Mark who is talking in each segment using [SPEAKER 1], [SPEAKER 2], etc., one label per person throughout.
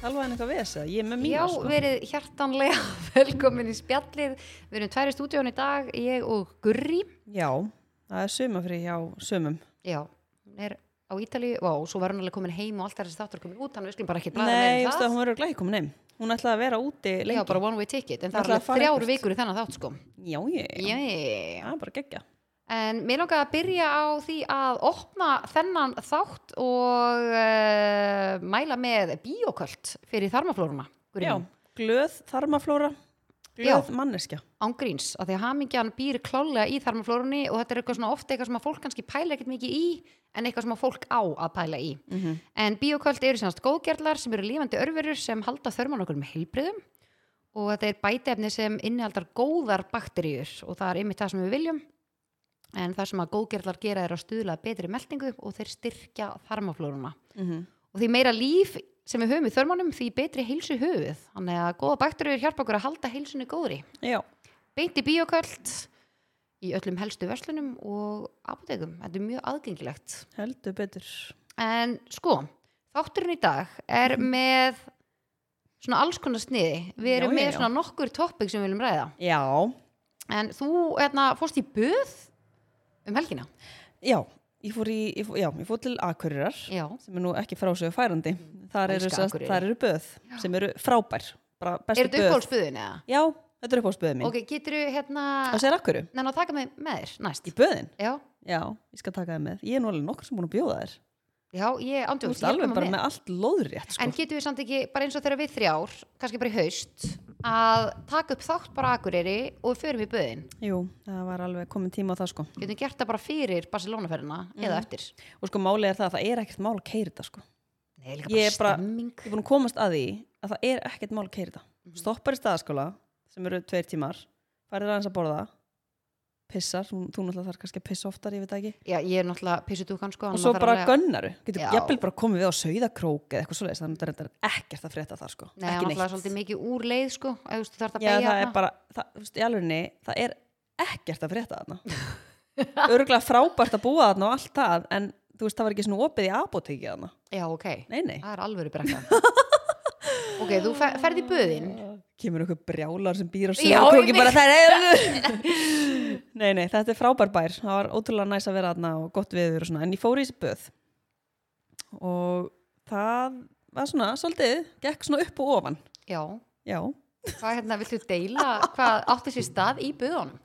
[SPEAKER 1] Talvaðan eitthvað við þess að ég er með mína
[SPEAKER 2] Já,
[SPEAKER 1] sko.
[SPEAKER 2] verið hjartanlega velkomin í spjallið. Við erum tværi stúdíón í dag, ég og Gurri.
[SPEAKER 1] Já, það er sumafrí hjá sumum.
[SPEAKER 2] Já, hún er á Ítalíu, vá, svo var hún alveg komin heim og allt þessi þáttur komin út, þannig að við skulum bara ekki blæða
[SPEAKER 1] Nei,
[SPEAKER 2] með
[SPEAKER 1] veist
[SPEAKER 2] það.
[SPEAKER 1] það, hún verður glæði komin heim. Hún ætlaði að vera úti
[SPEAKER 2] Já,
[SPEAKER 1] lengi.
[SPEAKER 2] bara one way ticket, en það
[SPEAKER 1] Ætlaði
[SPEAKER 2] er
[SPEAKER 1] að fara
[SPEAKER 2] alveg þrjár
[SPEAKER 1] eitthvert.
[SPEAKER 2] vikur í þennan þátt, sko.
[SPEAKER 1] Já, ég,
[SPEAKER 2] Já,
[SPEAKER 1] það er bara geggja.
[SPEAKER 2] En mér langaði að byrja á því að opna þennan þátt og uh, mæla með bíoköld fyrir þarmaflóruna. Gurrý
[SPEAKER 1] Já,
[SPEAKER 2] mín.
[SPEAKER 1] glöð þarmaflóra, glöð manneskja.
[SPEAKER 2] ángríns, af því að hamingjan býr klálega í þarmaflórunni og þetta er eitthvað svona ofta eitthvað sem að fólk kannski pæla ekkert mikið í en eitthvað sem að fólk á að pæla í en bíoköld eru sannst góðgerðlar sem eru lífandi örverur sem halda þörman okkur með heilbriðum og þetta er bætefni sem innihaldar góðar bakteríur og það er einmitt það sem við viljum en það sem að góðgerðlar gera er að stuðla að betri meldingu og þeir styrkja þarmaflórunna
[SPEAKER 1] Mm -hmm.
[SPEAKER 2] og því meira líf sem við höfum í þörmanum því betri heilsu höfuð þannig að góða bakteríur hjálpa okkur að halda heilsunni góðri
[SPEAKER 1] Já,
[SPEAKER 2] beint í bíoköld í öllum helstu verslunum og apotekum, þetta er mjög aðgengilegt
[SPEAKER 1] heldur betur.
[SPEAKER 2] en sko, þátturinn í dag er
[SPEAKER 1] Mhm.
[SPEAKER 2] með svona alls konar sniði, við
[SPEAKER 1] Já,
[SPEAKER 2] erum
[SPEAKER 1] já,
[SPEAKER 2] með
[SPEAKER 1] já.
[SPEAKER 2] svona nokkur topic sem við viljum ræða
[SPEAKER 1] Já,
[SPEAKER 2] en þú hérna, fórst í böð um helgina
[SPEAKER 1] já, ég fór, í, ég fór, já, ég fór til Akureyrar
[SPEAKER 2] já,
[SPEAKER 1] sem er nú ekki frásögu færandi. Þar eru,
[SPEAKER 2] elska
[SPEAKER 1] sest,
[SPEAKER 2] Akureyri.
[SPEAKER 1] þar eru böð sem eru frábær, bara
[SPEAKER 2] er
[SPEAKER 1] bestu
[SPEAKER 2] þetta
[SPEAKER 1] böð.
[SPEAKER 2] uppáhaldsböðin eða?
[SPEAKER 1] Já, þetta er uppáhaldsböðið mín.
[SPEAKER 2] ok, getur þú hérna
[SPEAKER 1] Og sér Akureyri,
[SPEAKER 2] neina að taka mig með þér næst
[SPEAKER 1] í böðin.
[SPEAKER 2] já,
[SPEAKER 1] Já, ég skal taka það með. Ég er nú alveg nokkur sem búin að bjóða þér.
[SPEAKER 2] já, ég
[SPEAKER 1] Þú
[SPEAKER 2] ándu
[SPEAKER 1] veist alveg bara með allt lóðrétt, sko.
[SPEAKER 2] En getum við samt ekki, bara eins og þegar við þrjár, kannski bara í haust, að taka upp þátt bara á Akureyri og við förum í böðin.
[SPEAKER 1] Jú, það var alveg komin tíma á það, sko.
[SPEAKER 2] Getum við gert það bara fyrir Barcelona-ferðina eða eftir.
[SPEAKER 1] Og sko, málið er það að það er ekkert mál að keiri þetta, sko.
[SPEAKER 2] Nei, líka
[SPEAKER 1] Ég
[SPEAKER 2] bara
[SPEAKER 1] er bara-
[SPEAKER 2] stemming.
[SPEAKER 1] Ég er búin að komast að því að það er ekkert mál að keiri þetta.
[SPEAKER 2] Mhm.
[SPEAKER 1] Stoppar í staðaskóla, sem eru tveir tímar, farir aðeins að borða, pissar, þú, þú náttúrulega þarf kannski að pissa oftar, ég veit það ekki.
[SPEAKER 2] Já, ég er náttúrulega pissutúkan, sko.
[SPEAKER 1] Og svo
[SPEAKER 2] þannig maður þarf
[SPEAKER 1] bara
[SPEAKER 2] alveg að-
[SPEAKER 1] gönnaru. Getur
[SPEAKER 2] Já.
[SPEAKER 1] jafnvel bara komið við á sauðakrók eða eitthvað svoleiðis, þannig að þetta er ekkert að frétta þar, sko.
[SPEAKER 2] Nei,
[SPEAKER 1] ekki
[SPEAKER 2] hann náttúrulega
[SPEAKER 1] neitt.
[SPEAKER 2] svolítið mikið úr leið, sko. Ef þú veist, þú þarf að
[SPEAKER 1] Já,
[SPEAKER 2] beigja
[SPEAKER 1] það er bara, það, þú veist, í alvegni, það er ekkert að frétta þarna. Öruglega frábært að búa þarna og allt það, en þú veist, það var ekki svona opið í apotekið þarna.
[SPEAKER 2] Já, ok.
[SPEAKER 1] Nei, nei.
[SPEAKER 2] Það er alvöru brekka. ok, þú fer, ferð í böðin.
[SPEAKER 1] Ah, Kemur einhver brjálar sem býr á
[SPEAKER 2] Já,
[SPEAKER 1] sögurkóki
[SPEAKER 2] ég
[SPEAKER 1] bara það er... nei, nei, þetta er frábær bær. Það var ótrúlega næs að vera þarna og gott viður og svona, en ég fór í þessi böð. Og það var svona, svolítið, gekk svona upp og ofan.
[SPEAKER 2] Já.
[SPEAKER 1] Já.
[SPEAKER 2] Hvað, hérna, viltu deila hvað átti sér stað í böðunum?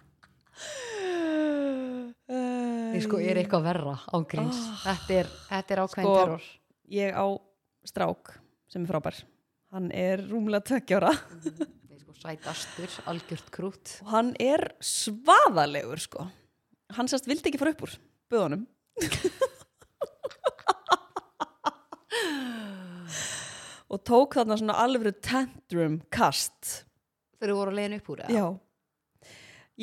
[SPEAKER 1] Uh,
[SPEAKER 2] Nei, sko, er eitthvað verra ángríns. Þetta er, þetta er ákveðin
[SPEAKER 1] Ah. Sko,
[SPEAKER 2] terror.
[SPEAKER 1] ég á strák sem er frábær hann er rúmlega tveggjára
[SPEAKER 2] Nei, sko, sætastur, algjört krút
[SPEAKER 1] og hann er svaðalegur sko hann sérst vildi ekki fara upp úr böðunum og tók þarna svona alvöru tantrum kast
[SPEAKER 2] þegar þú voru að leiðin upp úr eða?
[SPEAKER 1] já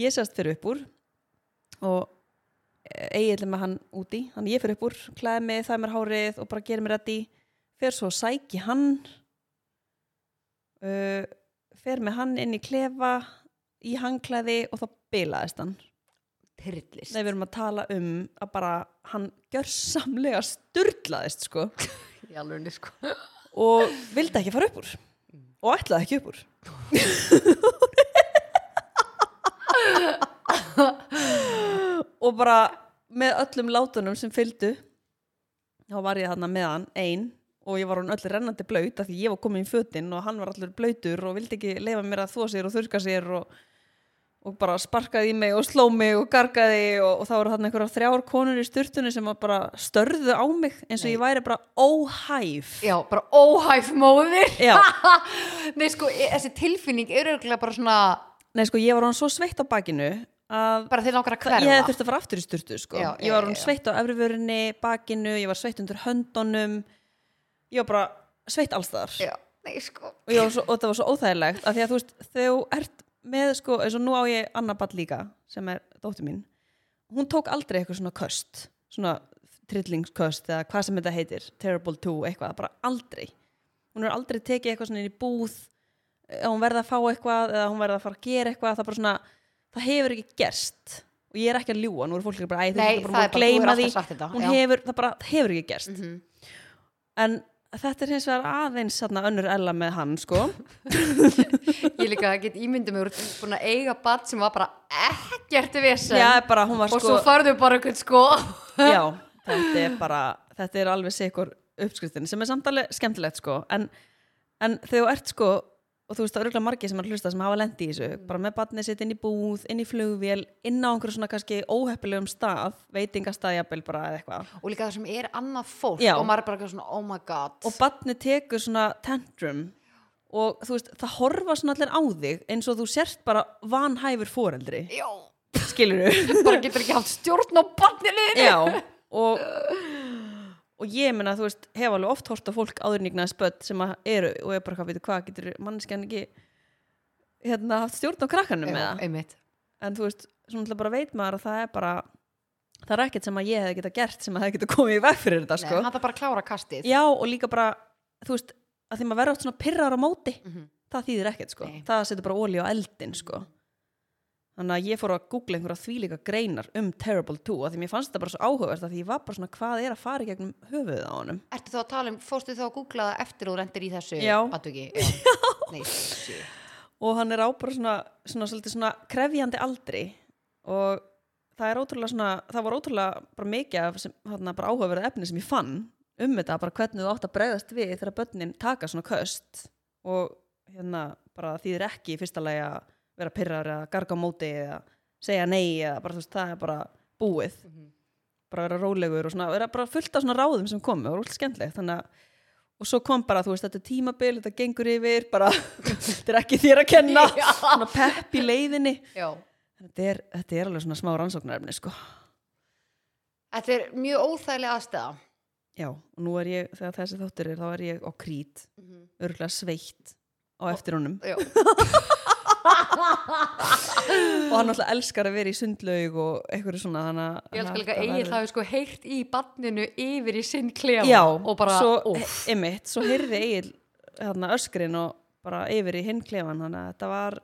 [SPEAKER 1] ég sérst fyrir upp úr og eiginlega með hann úti þannig ég fyrir upp úr, klæði mig, það mér hárið og bara gerir mér reddi fer svo að sæki hann uh, fer með hann inn í klefa í hangklæði og þá bilaðist hann
[SPEAKER 2] Tyrlist.
[SPEAKER 1] Nei, við erum að tala um að bara hann gjörsamlega sturlaðist sko
[SPEAKER 2] Í alvegni sko.
[SPEAKER 1] og vildi ekki fara upp úr og ætlaði ekki upp úr og bara með öllum látunum sem fylgdu þá var ég þarna með hann ein og ég var hann öll rennandi blaut af því ég var komin í fötin og hann var allur blautur og vildi ekki leifa mér að þvó sér og þurka sér og, og bara sparkaði í mig og sló mig og gargaði og, og þá voru þarna einhverja þrjár konur í styrtunni sem að bara störðu á mig eins og ég væri bara óhæf
[SPEAKER 2] Já, bara óhæf móðir.
[SPEAKER 1] Já.
[SPEAKER 2] Nei sko, e- þessi tilfinning er örgulega bara svona,
[SPEAKER 1] Nei, sko, ég var hann svo sveitt á bakinu að
[SPEAKER 2] bara þeir langar að
[SPEAKER 1] ég
[SPEAKER 2] hverfa.
[SPEAKER 1] hefði þurft að fara aftur í sturtu, sko.
[SPEAKER 2] Já,
[SPEAKER 1] ég var
[SPEAKER 2] já,
[SPEAKER 1] hann
[SPEAKER 2] já, já.
[SPEAKER 1] sveitt á efrivörinni, bakinu, ég var sveitt undir höndunum, ég var bara sveitt allstaðar.
[SPEAKER 2] Já, nei sko.
[SPEAKER 1] Og, ég var svo, og það var svo óþægilegt, af því að þú veist, þegar þú ert með, sko, eins og nú á ég annað ball líka, sem er dóttir mín, hún tók aldrei eitthvað svona köst, svona trillingsköst eða hvað sem þetta heitir, terrible two, eitthvað, bara aldrei. Hún er aldrei tekið eitthvað svona inn í búð, að hún verði að fá eitthvað eða hún verði að fara að gera eitthvað það, er bara svona, það hefur ekki gerst og ég er ekki að ljúa, nú eru fólk ekki bara æ, þú
[SPEAKER 2] Nei,
[SPEAKER 1] ert
[SPEAKER 2] það er
[SPEAKER 1] bara búin að
[SPEAKER 2] bara- þú
[SPEAKER 1] gleyma
[SPEAKER 2] hefur
[SPEAKER 1] því
[SPEAKER 2] alltaf sagt þetta,
[SPEAKER 1] hún
[SPEAKER 2] já.
[SPEAKER 1] hefur, það bara það hefur ekki gerst en þetta er hins vegar aðeins þarna önnur ella með hann sko
[SPEAKER 2] ég líka get ímyndið mér út búin að eiga bad sem var bara ekkert í vesen
[SPEAKER 1] já, bara hún var
[SPEAKER 2] og
[SPEAKER 1] sko
[SPEAKER 2] svo farðu bara eitthvað sko
[SPEAKER 1] já, þetta er bara þetta er alveg sikur uppskriftin sem er samtalið skemmtilegt sko en, en þegar þú ert sko og þú veist það eru örugglega margir sem er að hlusta sem hafa lendi í þessu bara með batnið sitt inn í búð, inn í flugvél inn á einhverjum svona kannski óheppilegum stað veitingastæðjabil bara eða eitthvað
[SPEAKER 2] og líka það sem er annað fólk
[SPEAKER 1] Já.
[SPEAKER 2] og maður er bara eitthvað svona oh my god
[SPEAKER 1] og batnið tekur svona tantrum og þú veist það horfa svona allir á þig eins og þú sért bara vanhæfur foreldri
[SPEAKER 2] já,
[SPEAKER 1] skilur
[SPEAKER 2] bara getur ekki haft stjórn á badninu
[SPEAKER 1] Já, og, og ég meina, þú veist, hef alveg oft hort á fólk áðurningnaði spött sem að eru og er bara, hvað veitu, hvað getur manneskjan ekki hérna haft stjórn á krakkanum með það
[SPEAKER 2] einmitt
[SPEAKER 1] en þú veist, svona alltaf bara veit maður að það er bara það er ekkert sem að ég hef geta gert sem að það geta komið í veg fyrir þetta,
[SPEAKER 2] Nei,
[SPEAKER 1] sko
[SPEAKER 2] hann þarf bara að klára kastið
[SPEAKER 1] Já, og líka bara, þú veist að því maður verður oft svona pirrar á móti
[SPEAKER 2] Mhm.
[SPEAKER 1] það þýðir ekkert, sko,
[SPEAKER 2] Nei.
[SPEAKER 1] það setur bara olí á eldin, sko Þannig að ég fór að googla einhverja þvílíka greinar um Terrible 2 að því mér fannst þetta bara svo áhugavert að því ég var bara svona hvað er að fara í gegnum höfuðið á honum.
[SPEAKER 2] Ertu þá að tala um, fórstu þá að googla það eftir og rendir í þessu
[SPEAKER 1] Já.
[SPEAKER 2] athugi? Já. Nei, shit.
[SPEAKER 1] Og hann er á bara svona, svona, svona, svona krefjandi aldri og það er ótrúlega svona, það var ótrúlega bara mikið af sem, þarna, bara áhugaverða efni sem ég fann um þetta, bara hvernig þú átt að bregðast við þegar börnin taka svona köst og hérna bara þýðir ekki í fyrsta lagi að vera pyrrar eða garga á móti eða segja nei eða bara þú veist, það er bara búið
[SPEAKER 2] Mhm.
[SPEAKER 1] bara vera rólegur og svona, vera bara fullt af svona ráðum sem komu, það var alltaf skemmtilegt þannig að, og svo kom bara, þú veist, þetta er tímabil þetta gengur yfir, bara þetta er ekki þér að kenna,
[SPEAKER 2] Já.
[SPEAKER 1] svona pepp í leiðinni
[SPEAKER 2] Já.
[SPEAKER 1] þetta er, þetta er alveg svona smá rannsóknarefni, sko
[SPEAKER 2] Þetta er mjög óþægilega aðstæða.
[SPEAKER 1] Já, og nú er ég, þegar þessi þáttur er, þá er ég á krít, örgulega sveitt á eftir honum.
[SPEAKER 2] Mhm. Já.
[SPEAKER 1] Og hann alltaf elskar að vera í sundlaug og einhverju svona, þannig að...
[SPEAKER 2] Ég elskar líka
[SPEAKER 1] hann
[SPEAKER 2] eigið
[SPEAKER 1] alltaf
[SPEAKER 2] það sko heilt í badninu yfir í sinn klefa
[SPEAKER 1] Já,
[SPEAKER 2] og bara,
[SPEAKER 1] svo,
[SPEAKER 2] óf.
[SPEAKER 1] e- einmitt, svo heyrði eigið þarna öskrin og bara yfir í hinn klefan, þannig að þetta var,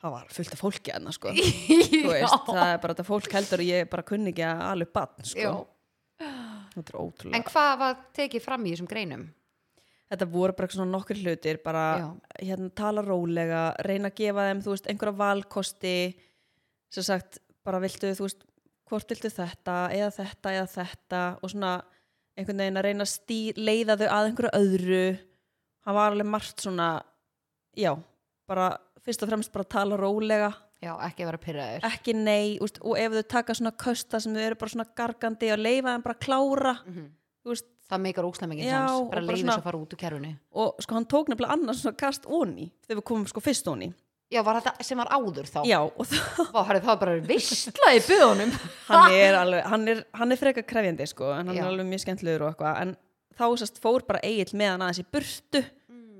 [SPEAKER 1] það var fullt af fólki hann, sko. Þú veist, það er bara þetta fólk heldur og ég bara kunni ekki að alveg bann, sko.
[SPEAKER 2] Já.
[SPEAKER 1] Þetta er ótrúlega.
[SPEAKER 2] En hvað var tekið fram í þessum greinum?
[SPEAKER 1] þetta voru bara eitthvað svona nokkur hlutir bara hérna, tala rólega reyna að gefa þeim, þú veist, einhverja valkosti sem sagt, bara viltu þú veist, hvort viltu þetta eða þetta eða þetta og svona einhvern veginn að reyna að stí, leiða þau að einhverju öðru hann var alveg margt svona já, bara fyrst og fremst bara tala rólega
[SPEAKER 2] Já, ekki að vera pyrraður.
[SPEAKER 1] ekki nei, úst, og ef þau taka svona kösta sem þau eru bara svona gargandi og leifa þeim bara að klára þú veist,
[SPEAKER 2] Mhm. Það meikar óslega mikið
[SPEAKER 1] Já,
[SPEAKER 2] sens,
[SPEAKER 1] og
[SPEAKER 2] bara
[SPEAKER 1] bara
[SPEAKER 2] leiðis
[SPEAKER 1] svona-
[SPEAKER 2] að fara út úr kerfinu.
[SPEAKER 1] og sko hann tók nefnilega annars svona kast onni þegar við komum sko fyrst onni
[SPEAKER 2] Já, var þetta sem var áður þá?
[SPEAKER 1] já og það,
[SPEAKER 2] Vá, herri, það var bara vissla í byðunum.
[SPEAKER 1] hann er alveg hann er, hann er frekar krefjandi sko en hann
[SPEAKER 2] Já.
[SPEAKER 1] er alveg mjög skemmtlegur og eitthvað en þá sérst fór bara eigill með hann aðeins í burtu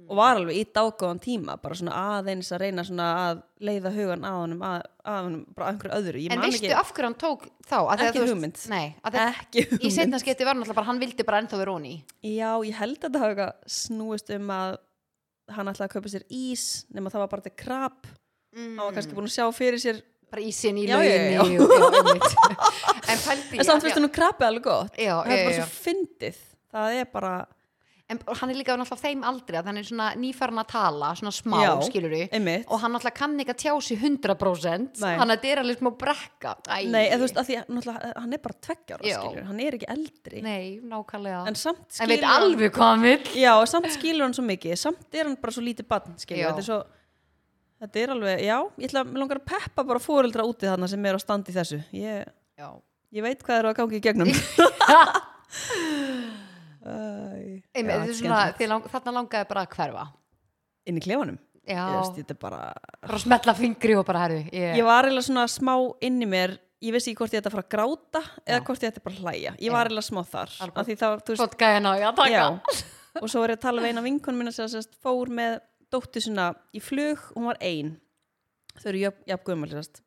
[SPEAKER 2] Mm.
[SPEAKER 1] og var alveg í dágóðan tíma bara svona aðeins að reyna svona að leiða hugan að honum að, að honum bara að einhverju öðru ég
[SPEAKER 2] En
[SPEAKER 1] man
[SPEAKER 2] veistu
[SPEAKER 1] ekki,
[SPEAKER 2] af hverju hann tók þá? Af því að
[SPEAKER 1] Ekki
[SPEAKER 2] þú veist-
[SPEAKER 1] hugmynd.
[SPEAKER 2] Nei, af því að
[SPEAKER 1] ekki
[SPEAKER 2] í
[SPEAKER 1] hugmynd.
[SPEAKER 2] setna skipti var náttúrulega bara hann vildi bara ennþá vera onni.
[SPEAKER 1] já ég held að þetta hafa eitthvað snúist um að hann ætlaði að kaupa sér ís nema það var bara þetta krab
[SPEAKER 2] Mm.
[SPEAKER 1] hann var kannski búin að sjá fyrir sér
[SPEAKER 2] Bara í sinni í
[SPEAKER 1] Já, já, já.
[SPEAKER 2] lauginni. og- já, einmitt. en pældi
[SPEAKER 1] en samt finnst hann um krabbi alveg gott
[SPEAKER 2] Já,
[SPEAKER 1] það er
[SPEAKER 2] já,
[SPEAKER 1] bara
[SPEAKER 2] já.
[SPEAKER 1] svo fyndið það er bara,
[SPEAKER 2] En hann er líka náttúrulega á þeim aldrei að hann er svona nýfarn að tala, svona smá,
[SPEAKER 1] Já,
[SPEAKER 2] skilur við.
[SPEAKER 1] einmitt.
[SPEAKER 2] Og hann náttúrulega kann ekki að tjá sig
[SPEAKER 1] Nei.
[SPEAKER 2] 100%. Þannig að þetta er alveg smá brekka. Æ.
[SPEAKER 1] nei, eða þú veist að því, að náttúrulega, eh, hann er bara tveggjar
[SPEAKER 2] Já.
[SPEAKER 1] skilur, hann er ekki eldri
[SPEAKER 2] Nei, nákvæmlega.
[SPEAKER 1] en samt
[SPEAKER 2] En
[SPEAKER 1] skilur
[SPEAKER 2] veit alveg hvað hann vil.
[SPEAKER 1] já, og samt skilur hann svo mikið, samt er hann bara svo lítið barn, skilur,
[SPEAKER 2] Já.
[SPEAKER 1] þetta er svo þetta er alveg, já, ég ætla að mig langar að peppa bara fóreldra úti þarna sem er á standi þessu ég,
[SPEAKER 2] Já.
[SPEAKER 1] ég veit hvað er að gangi í gegnum Æ,
[SPEAKER 2] Einmitt,
[SPEAKER 1] já,
[SPEAKER 2] þetta er svona,
[SPEAKER 1] skemmtilegt.
[SPEAKER 2] þið lang, þarna langaði bara að hverfa.
[SPEAKER 1] inn í klefanum
[SPEAKER 2] Já.
[SPEAKER 1] Ég veist, þetta er bara
[SPEAKER 2] bara að smetla fingri og bara herðu ég,
[SPEAKER 1] ég var eiginlega svona smá inn í mér ég vissi ekki hvort ég ætti að fara að gráta eða hvort ég ætti bara að hlæja, ég var eiginlega smá þar
[SPEAKER 2] Alveg.
[SPEAKER 1] af því þá, þú veist,
[SPEAKER 2] Svont gæði ná, hérna, já, takk
[SPEAKER 1] já og svo var ég að tala við eina vinkonum minna sem sérst, fór með dóttu sinna í flug hún var ein, þau eru jafn, jafn gömul sérst.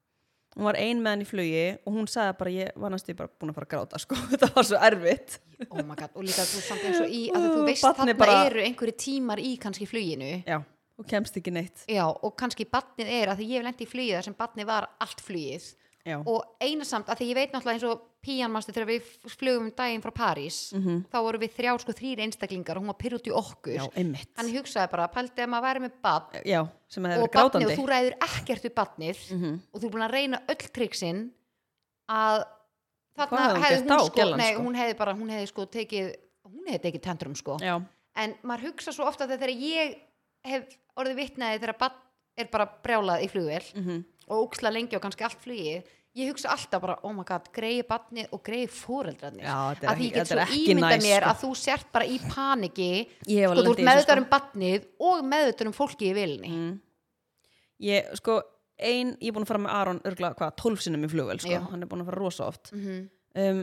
[SPEAKER 1] hún var ein með hann í flugi og hún sagði bara, ég var næstu bara búin að fara að gráta sko, þetta var svo erfitt
[SPEAKER 2] Oh my god, og líka þú samt eins og í að þú
[SPEAKER 1] Uh,
[SPEAKER 2] veist
[SPEAKER 1] barnið
[SPEAKER 2] þarna
[SPEAKER 1] bara-
[SPEAKER 2] eru einhverju tímar í kannski fluginu
[SPEAKER 1] já, og kemst ekki neitt
[SPEAKER 2] Já, og kannski batnið er að því ég hef lendi í flugið þar sem batnið var allt flugið
[SPEAKER 1] já,
[SPEAKER 2] og eina samt að því ég veit náttúrulega eins og píjanmastu þegar við flugum um daginn frá París þá voru við þrjá sko þrýr einstaklingar og hún var pyrr út í okkur
[SPEAKER 1] Mhm. já, einmitt
[SPEAKER 2] hann hugsaði bara, pældi að maður væri með badn
[SPEAKER 1] já, sem að það
[SPEAKER 2] og,
[SPEAKER 1] er
[SPEAKER 2] barnið,
[SPEAKER 1] grátandi
[SPEAKER 2] og þú ræður ekkert við badnið
[SPEAKER 1] Mhm.
[SPEAKER 2] og þú er búin að reyna öll triksin að
[SPEAKER 1] Hvað
[SPEAKER 2] þarna
[SPEAKER 1] hafði hún
[SPEAKER 2] hefði
[SPEAKER 1] gert
[SPEAKER 2] hún
[SPEAKER 1] þá,
[SPEAKER 2] sko,
[SPEAKER 1] gælan,
[SPEAKER 2] nei,
[SPEAKER 1] sko?
[SPEAKER 2] hún hefði bara, hún hefði sko tekið hún hefði tekið tendrum sko
[SPEAKER 1] já,
[SPEAKER 2] en maður hugsa svo ofta þegar ég hef orðið vitnaði þegar badn er bara brjálað í flugvél
[SPEAKER 1] mhm,
[SPEAKER 2] og óksla lengi og kannski allt flugið ég hugsa alltaf bara, oh my god, greiði badnið og greiði fóreldrarnir
[SPEAKER 1] Já, þetta er
[SPEAKER 2] að því
[SPEAKER 1] ekki-
[SPEAKER 2] ég get
[SPEAKER 1] þetta
[SPEAKER 2] svo
[SPEAKER 1] er ekki
[SPEAKER 2] ímynda
[SPEAKER 1] næs,
[SPEAKER 2] mér
[SPEAKER 1] sko.
[SPEAKER 2] að þú sért bara í paniki
[SPEAKER 1] Ég hef
[SPEAKER 2] sko,
[SPEAKER 1] alveg
[SPEAKER 2] þú
[SPEAKER 1] lent í
[SPEAKER 2] ert
[SPEAKER 1] þessu,
[SPEAKER 2] meðvitaður um badnið og meðvitaður um fólki í vilni
[SPEAKER 1] mm. ég, sko ein, ég er búin að fara með Aron örgla, hvað, 12 sinnum í flugvel, sko,
[SPEAKER 2] Já.
[SPEAKER 1] hann er búin að fara rosa oft
[SPEAKER 2] mm
[SPEAKER 1] um,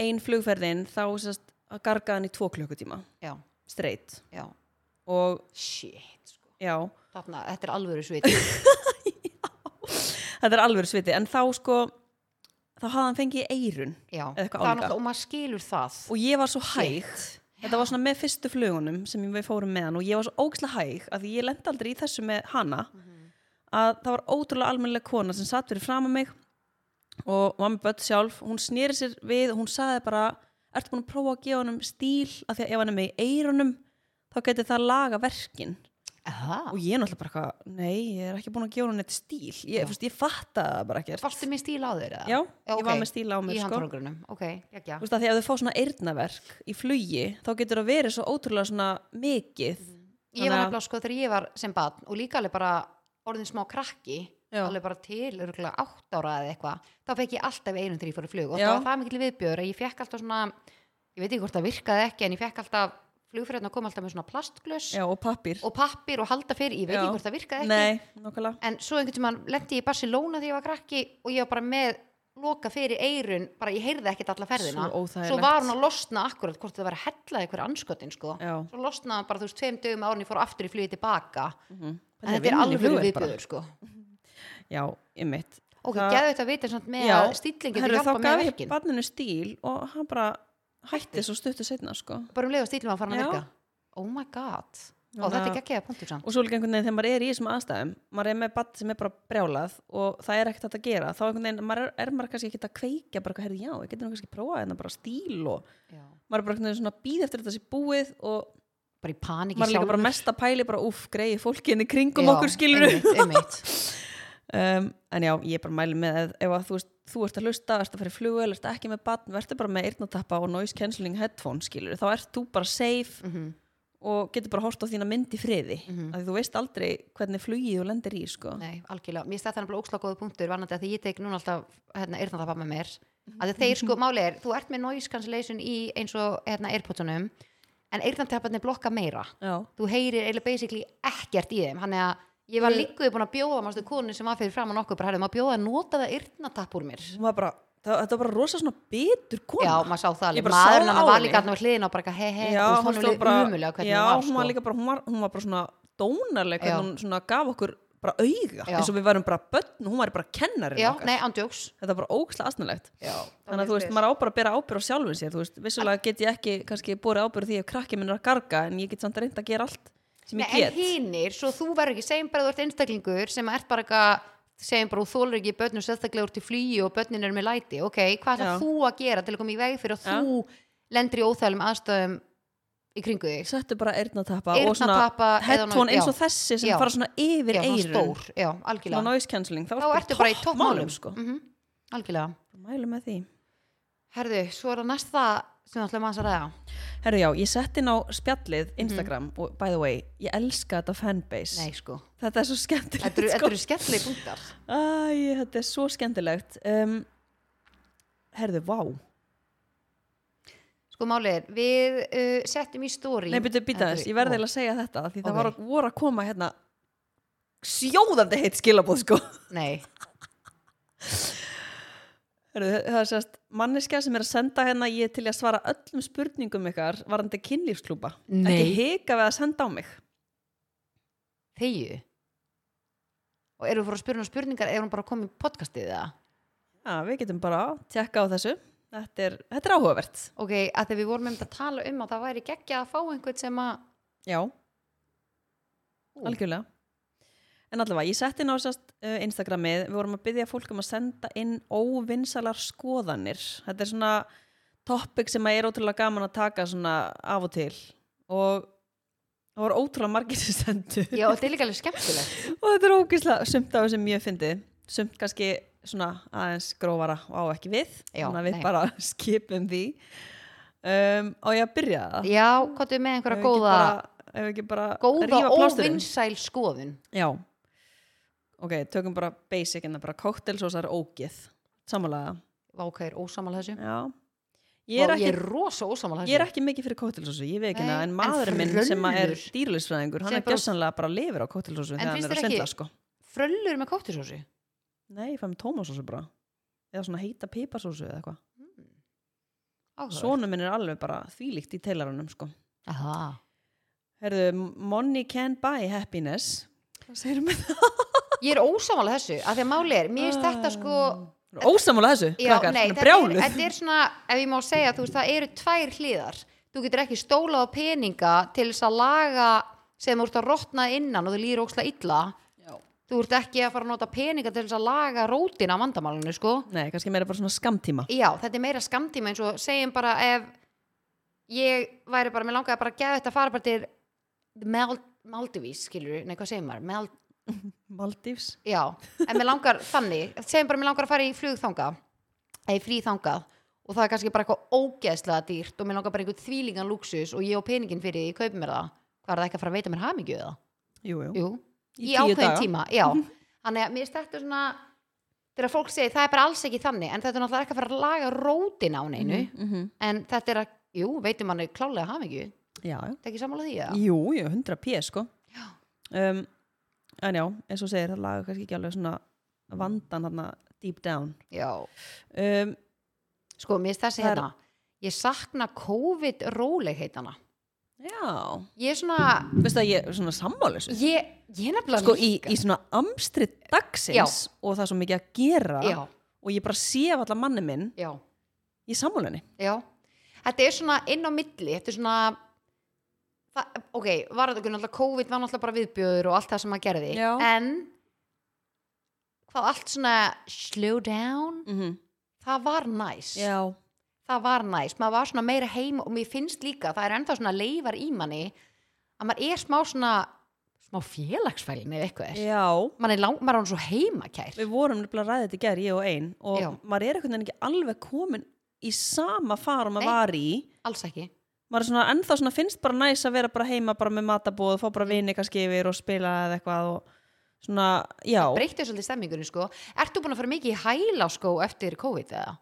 [SPEAKER 1] ein flugferðin þá sérst að garga hann í tvo klukkutíma
[SPEAKER 2] já,
[SPEAKER 1] streitt
[SPEAKER 2] já,
[SPEAKER 1] og
[SPEAKER 2] shit sko.
[SPEAKER 1] já,
[SPEAKER 2] Þarna, þetta er alvöru sviti
[SPEAKER 1] þetta er alveg sviti en þá sko þá hafði hann fengið eirun
[SPEAKER 2] já,
[SPEAKER 1] Eða eitthvað
[SPEAKER 2] Það er
[SPEAKER 1] álíka.
[SPEAKER 2] náttúrulega- og maður skilur það
[SPEAKER 1] og ég var svo hæg þetta var svona með fyrstu flugunum sem við fórum með hann og ég var svo ógislega hæg að því ég lendi aldrei í þessu með hana að það var ótrúlega almennileg kona sem satt fyrir fram að mig og var með börn sjálf hún snýri sér við og hún sagði bara ertu búin að prófa að gefa honum stíl af því að ef hann er með í eirunum þá geti það laga verkin
[SPEAKER 2] Aha.
[SPEAKER 1] og ég er náttúrulega bara eitthvað, nei, ég er ekki búin að gefa honum neitt stíl ég, fyrst, ég fatta það bara ekkert
[SPEAKER 2] varstu með stíl á þeir eða?
[SPEAKER 1] já, ég var
[SPEAKER 2] ok.
[SPEAKER 1] með stíl á mér
[SPEAKER 2] í
[SPEAKER 1] sko.
[SPEAKER 2] handfórangrunum, ok, já, já
[SPEAKER 1] Þú veist að því að þau fá svona eyrnaverk í flugi þá getur það verið svo ótrúlega svona mikið
[SPEAKER 2] ég
[SPEAKER 1] Þannig að-
[SPEAKER 2] var nefnilega sko þegar ég var sem barn og líka alveg bara orðin smá krakki
[SPEAKER 1] Já.
[SPEAKER 2] alveg bara til örgulega átt ára eða eitthvað þá fekk ég alltaf einum þegar ég fór í flug og
[SPEAKER 1] Já.
[SPEAKER 2] það var það mikil viðbjör að ég fekk alltaf svona ég veit ekki hvort það virkaði ekki en ég fekk alltaf flugfyrirna kom alltaf með svona plastglöss
[SPEAKER 1] Já, og pappir
[SPEAKER 2] og pappir og halda fyrir, ég veit
[SPEAKER 1] Já.
[SPEAKER 2] ekki hvort það virkaði ekki
[SPEAKER 1] Nei, nokkala
[SPEAKER 2] en svo einhvern tímann lendi ég í Barcelona þegar ég var krakki og ég var bara með loka fyrir eirun, bara ég heyrði ekkert alla ferðina
[SPEAKER 1] Svo óþægilegt.
[SPEAKER 2] svo var hún að losna akkurat hvort það var að hella eitthvað anskotin sko.
[SPEAKER 1] Já.
[SPEAKER 2] svo losnaði hann bara þú veist tveim dögum árin ég fór aftur í flugið tilbaka en
[SPEAKER 1] Þetta er
[SPEAKER 2] þetta er
[SPEAKER 1] vinnan í
[SPEAKER 2] alveg
[SPEAKER 1] flugvél bara.
[SPEAKER 2] viðbjöður sko.
[SPEAKER 1] Já, ymmit
[SPEAKER 2] ok, geðu þetta að vita samt með að stíllingin
[SPEAKER 1] herru,
[SPEAKER 2] til
[SPEAKER 1] þá
[SPEAKER 2] hjálpa með
[SPEAKER 1] gaf ég
[SPEAKER 2] verkin
[SPEAKER 1] barninu stíl og hann bara hætti svo stuttu setna sko.
[SPEAKER 2] bara um leið og stílum að fara að
[SPEAKER 1] Já.
[SPEAKER 2] verka oh my god,
[SPEAKER 1] Þannig
[SPEAKER 2] og þetta
[SPEAKER 1] að-
[SPEAKER 2] er geggjaða punktur samt
[SPEAKER 1] og svo líka einhvern veginn þegar maður er í þessum aðstæðum maður er með barn sem er bara brjálað og það er ekkert hægt að gera þá einhvern veginn, maður er, er maður kannski ekki að kveikja bara, herri, já, ég getur nú kannski prófað en bara stíl og
[SPEAKER 2] Já.
[SPEAKER 1] maður er bara einhvern veginn svona býð eftir þetta sé búið og
[SPEAKER 2] bara í paniki
[SPEAKER 1] maður er líka bara mest að pæli bara úf, greiði fólkinni kringum okkur skilur
[SPEAKER 2] einmitt, einmitt.
[SPEAKER 1] um, en já, ég bara mæli með ef, ef að þú, veist, þú ert að hlusta, ert að fara í flugvel ert ekki með batn, verður bara með eyrnatappa og noise cancelling headphone skilur þá ert þú bara safe
[SPEAKER 2] Mhm.
[SPEAKER 1] og getur bara hort á þína mynd í friði mm -hmm. því þú veist aldrei hvernig flugið þú lendir í sko.
[SPEAKER 2] Nei, algjörlega. Mér stætti hann bara ókslega góða punktur varnandi að því ég tek núna alltaf hérna, eyrnatappa með mér.
[SPEAKER 1] Mhm.
[SPEAKER 2] Að þeir sko, máli er, þú ert með noise cancellation í eins og hérna, airpodsonum, en eyrnatapparnir blokka meira.
[SPEAKER 1] já,
[SPEAKER 2] Þú heyrir eiginlega basically ekkert í þeim. Hann er að ég var líkuði búin að bjóða, mástu konu sem var fyrir fram á nokkuð, bara hefði maður bjóða að nota það eyrnatapp úr mér.
[SPEAKER 1] Hún var bara, það, þetta var bara rosa svona betur kona
[SPEAKER 2] Já, maður sá það
[SPEAKER 1] Ég
[SPEAKER 2] alveg.
[SPEAKER 1] bara sá
[SPEAKER 2] Maðurinn
[SPEAKER 1] á
[SPEAKER 2] hann var
[SPEAKER 1] henni.
[SPEAKER 2] líka hann var hliðin á bara eitthvað, hei, hei,
[SPEAKER 1] Já,
[SPEAKER 2] og
[SPEAKER 1] hún
[SPEAKER 2] hún
[SPEAKER 1] stóð
[SPEAKER 2] er
[SPEAKER 1] bara
[SPEAKER 2] umulega hvernig
[SPEAKER 1] já,
[SPEAKER 2] hún var,
[SPEAKER 1] hún var
[SPEAKER 2] sko.
[SPEAKER 1] líka bara, hún var, hún var bara svona dónarleg,
[SPEAKER 2] Já.
[SPEAKER 1] hvernig hún svona gaf okkur bara auga,
[SPEAKER 2] Já.
[SPEAKER 1] eins og við værum bara börn hún var bara kennarinn
[SPEAKER 2] Já,
[SPEAKER 1] okkar
[SPEAKER 2] nei, ándjóks.
[SPEAKER 1] þetta var bara ógæslega aðsnalegt
[SPEAKER 2] Já,
[SPEAKER 1] þannig að þú veist, maður á bara að bera ábyrð á sjálfum sér þú veist, vissulega get ég ekki kannski borið ábyrð því að krakki minn er að garga en ég get samt reynd að gera allt sem ég
[SPEAKER 2] Nei, en
[SPEAKER 1] get
[SPEAKER 2] hinnir, svo þú verður ekki, segjum bara að þú ert einstaklingur sem ert bara eitthvað, segjum bara þú þólar ekki börnum sérstaklega úr til flýju og börnin er með læti, ok, hvað
[SPEAKER 1] Já.
[SPEAKER 2] ætlar þú að gera til að koma í veg fyrir að þú lendir í óþælum aðstöðum í kringu þig?
[SPEAKER 1] settu bara eyrnatappa og
[SPEAKER 2] Eyrnatappa
[SPEAKER 1] svona
[SPEAKER 2] eða
[SPEAKER 1] headphone
[SPEAKER 2] ná-
[SPEAKER 1] eins
[SPEAKER 2] já.
[SPEAKER 1] og þessi sem
[SPEAKER 2] Já.
[SPEAKER 1] fara svona yfir
[SPEAKER 2] Já, svona
[SPEAKER 1] eyrun
[SPEAKER 2] stór, já,
[SPEAKER 1] svona
[SPEAKER 2] algjörlega.
[SPEAKER 1] noise cancelling, þá,
[SPEAKER 2] Þá ertu bara í toppmálum,
[SPEAKER 1] sko.
[SPEAKER 2] Mhm, algjörlega.
[SPEAKER 1] mælu með því
[SPEAKER 2] Herðu, svo er það næst það sem við ætlum aðeins að ræða.
[SPEAKER 1] Herru já, ég sett inn á spjallið Instagram og by the way, ég elska þetta fanbase
[SPEAKER 2] Mhm. Nei, sko,
[SPEAKER 1] þetta er svo skemmtilegt
[SPEAKER 2] þetta eru-
[SPEAKER 1] sko.
[SPEAKER 2] þetta eru skemmtilegi punktar.
[SPEAKER 1] Æ, þetta er svo skemmtilegt um, herðu, vá
[SPEAKER 2] Sko, málið er, við uh, settum í stóri.
[SPEAKER 1] Nei, byrju, býta þess, ég verði eiginlega að segja þetta af því það
[SPEAKER 2] Ok.
[SPEAKER 1] var, voru að koma hérna sjóðandi heitt skilabóð sko
[SPEAKER 2] Nei,
[SPEAKER 1] Heru, það er sérst, manneskja sem er að senda hérna ég er til í að svara öllum spurningum ykkar varandi kynlífsklúpa ekki
[SPEAKER 2] Nei.
[SPEAKER 1] hika við að senda á mig
[SPEAKER 2] þegju og erum við fór að spyrja hún spurningar eða hún bara komið í podcastið það
[SPEAKER 1] Já, við getum bara að tekka á þessu þetta er, þetta er áhugavert
[SPEAKER 2] ok, að þegar við vorum einmitt að tala um að það væri geggja að fá einhvern sem að
[SPEAKER 1] Já, algjörlega En allavega, ég setti inn á sérst uh, Instagramið, við vorum að byggja fólk um að senda inn óvinsalar skoðanir. Þetta er svona topic sem er ótrúlega gaman að taka svona af og til og það voru ótrúlega margir sem sendu
[SPEAKER 2] Já, og þetta er líka alveg skemmtilegt
[SPEAKER 1] og þetta er ógislega sumt af þessum mjög fyndið, sumt kannski svona aðeins grófara og á ekki við,
[SPEAKER 2] Já,
[SPEAKER 1] þannig að við
[SPEAKER 2] nei.
[SPEAKER 1] bara skipum því. Um, á ég að byrja það?
[SPEAKER 2] Já, hvað er með
[SPEAKER 1] Ef
[SPEAKER 2] einhverja
[SPEAKER 1] ekki
[SPEAKER 2] góða
[SPEAKER 1] bara- Ef ekki bara
[SPEAKER 2] góða
[SPEAKER 1] rífa plásturinn?
[SPEAKER 2] óvinnsæl skoðun
[SPEAKER 1] Já Ok, tökum bara basic en það bara koktelsósar ógið Samanlega
[SPEAKER 2] Vá, hvað ég er ósamal þessu
[SPEAKER 1] Já Ég er,
[SPEAKER 2] Vá, ég
[SPEAKER 1] ekki,
[SPEAKER 2] er rosa ósamal
[SPEAKER 1] ég er
[SPEAKER 2] þessu
[SPEAKER 1] ekki mikið fyrir koktelsósu, ég veit ekki
[SPEAKER 2] Nei,
[SPEAKER 1] hana En
[SPEAKER 2] en
[SPEAKER 1] maðurinn minn sem að er
[SPEAKER 2] fröllur.
[SPEAKER 1] dýrlisfræðingur Hann
[SPEAKER 2] Sem
[SPEAKER 1] er
[SPEAKER 2] bara-
[SPEAKER 1] gjössanlega bara lifir á koktelsósu
[SPEAKER 2] En
[SPEAKER 1] Þegar hann
[SPEAKER 2] finnst
[SPEAKER 1] er að
[SPEAKER 2] þér ekki-
[SPEAKER 1] svindla sko
[SPEAKER 2] Fröllur með kóttisósu
[SPEAKER 1] Nei, ég fæ með tómasósu bara Eða svona heita piparsósu eða eitthvað
[SPEAKER 2] Áhverð
[SPEAKER 1] Sónu minn er alveg bara þvílíkt í teilarunum sko
[SPEAKER 2] Aha.
[SPEAKER 1] Herðu, money can buy happiness Hvað segirðu með það?
[SPEAKER 2] Ég er ósamal þessu Af því að máli er, mér finnst þetta sko
[SPEAKER 1] Ósamála þessu,
[SPEAKER 2] Já,
[SPEAKER 1] krakkar,
[SPEAKER 2] nei,
[SPEAKER 1] hún er
[SPEAKER 2] þetta er,
[SPEAKER 1] brjáluð
[SPEAKER 2] þetta er svona, ef ég má segja, þú veist, það eru tvær hliðar. Þú getur ekki stólað á peninga til þess að laga sem þú ert að rotna innan og þú líður óksla illa.
[SPEAKER 1] Já.
[SPEAKER 2] Þú ert ekki að fara að nota peninga til þess að laga rótina á vandamálinu, sko.
[SPEAKER 1] Nei, kannski meira bara svona skamtíma
[SPEAKER 2] Já, þetta er meira skamtíma eins og segjum bara ef ég væri bara, mér langaði bara að gefa þetta að fara bara til Mal- Maldivís, skilur nei, hvað segjum maður? Mal
[SPEAKER 1] Maldífs
[SPEAKER 2] Já, en mér langar þannig, segjum bara mér langar að fara í flugþangað eða í fríþangað og það er kannski bara eitthvað ógeðslega dýrt og mér langar bara einhvern þvílingan lúksus og ég og peningin fyrir því, ég kaupi mér það hvað er það ekki að fara að veita mér hamingju eða?
[SPEAKER 1] Jú, jú
[SPEAKER 2] Jú,
[SPEAKER 1] Í
[SPEAKER 2] í,
[SPEAKER 1] tíu
[SPEAKER 2] ákveðin
[SPEAKER 1] daga.
[SPEAKER 2] tíma Já, þannig að mér er þetta svona þegar fólk segir það er bara alls ekki þannig en þetta er náttúrulega ekki að fara að laga rótin á neinu
[SPEAKER 1] Mhm.
[SPEAKER 2] en þetta er að, jú, veitum manni klálega hamingju,
[SPEAKER 1] Já, já.
[SPEAKER 2] þetta ekki sammála því eða?
[SPEAKER 1] jú, jú, 100 pés sko um, En já, eins og þú segir það laga kannski ekki alveg svona vandan þarna deep down
[SPEAKER 2] Já,
[SPEAKER 1] um,
[SPEAKER 2] sko, mér er
[SPEAKER 1] Það
[SPEAKER 2] þessi
[SPEAKER 1] er-
[SPEAKER 2] hérna ég sakna COVID-rólegheitana
[SPEAKER 1] Já,
[SPEAKER 2] ég er svona
[SPEAKER 1] veistu að ég er svona sammális
[SPEAKER 2] ég, ég nefnilega
[SPEAKER 1] Sko, í,
[SPEAKER 2] líka
[SPEAKER 1] í svona amstri dagsins og það er svo mikið að gera
[SPEAKER 2] já,
[SPEAKER 1] og ég bara sé af allan manni minn
[SPEAKER 2] já,
[SPEAKER 1] í sammálinni
[SPEAKER 2] já þetta er svona inn á milli þetta er svona það, ok, var þetta náttúrulega COVID var náttúrulega bara viðbjöður og allt það sem maður gerði
[SPEAKER 1] Já.
[SPEAKER 2] en hvað allt svona slow down
[SPEAKER 1] mm -hmm.
[SPEAKER 2] það var næs
[SPEAKER 1] Já,
[SPEAKER 2] það var næs, maður var svona meira heim og mér finnst líka, það er ennþá svona leifar í manni að maður er smá svona smá félagsfælin eða eitthvað er
[SPEAKER 1] já
[SPEAKER 2] Man er lang, maður er hann svo heimakær
[SPEAKER 1] Við vorum nefnilega að ræða þetta í gerð, ég og ein og
[SPEAKER 2] Já.
[SPEAKER 1] maður er einhvern veginn ekki alveg komin í sama fara maður
[SPEAKER 2] Nei.
[SPEAKER 1] var í
[SPEAKER 2] alls ekki
[SPEAKER 1] maður er svona ennþá svona finnst bara næs að vera bara heima bara með matabóð, fá
[SPEAKER 2] Mm.
[SPEAKER 1] bara vini kannski yfir og spila eða eitthvað og svona, já,
[SPEAKER 2] breytti svolítið stemmingunni sko Ert þú búin að fara mikið í hæláskó eftir COVID eða?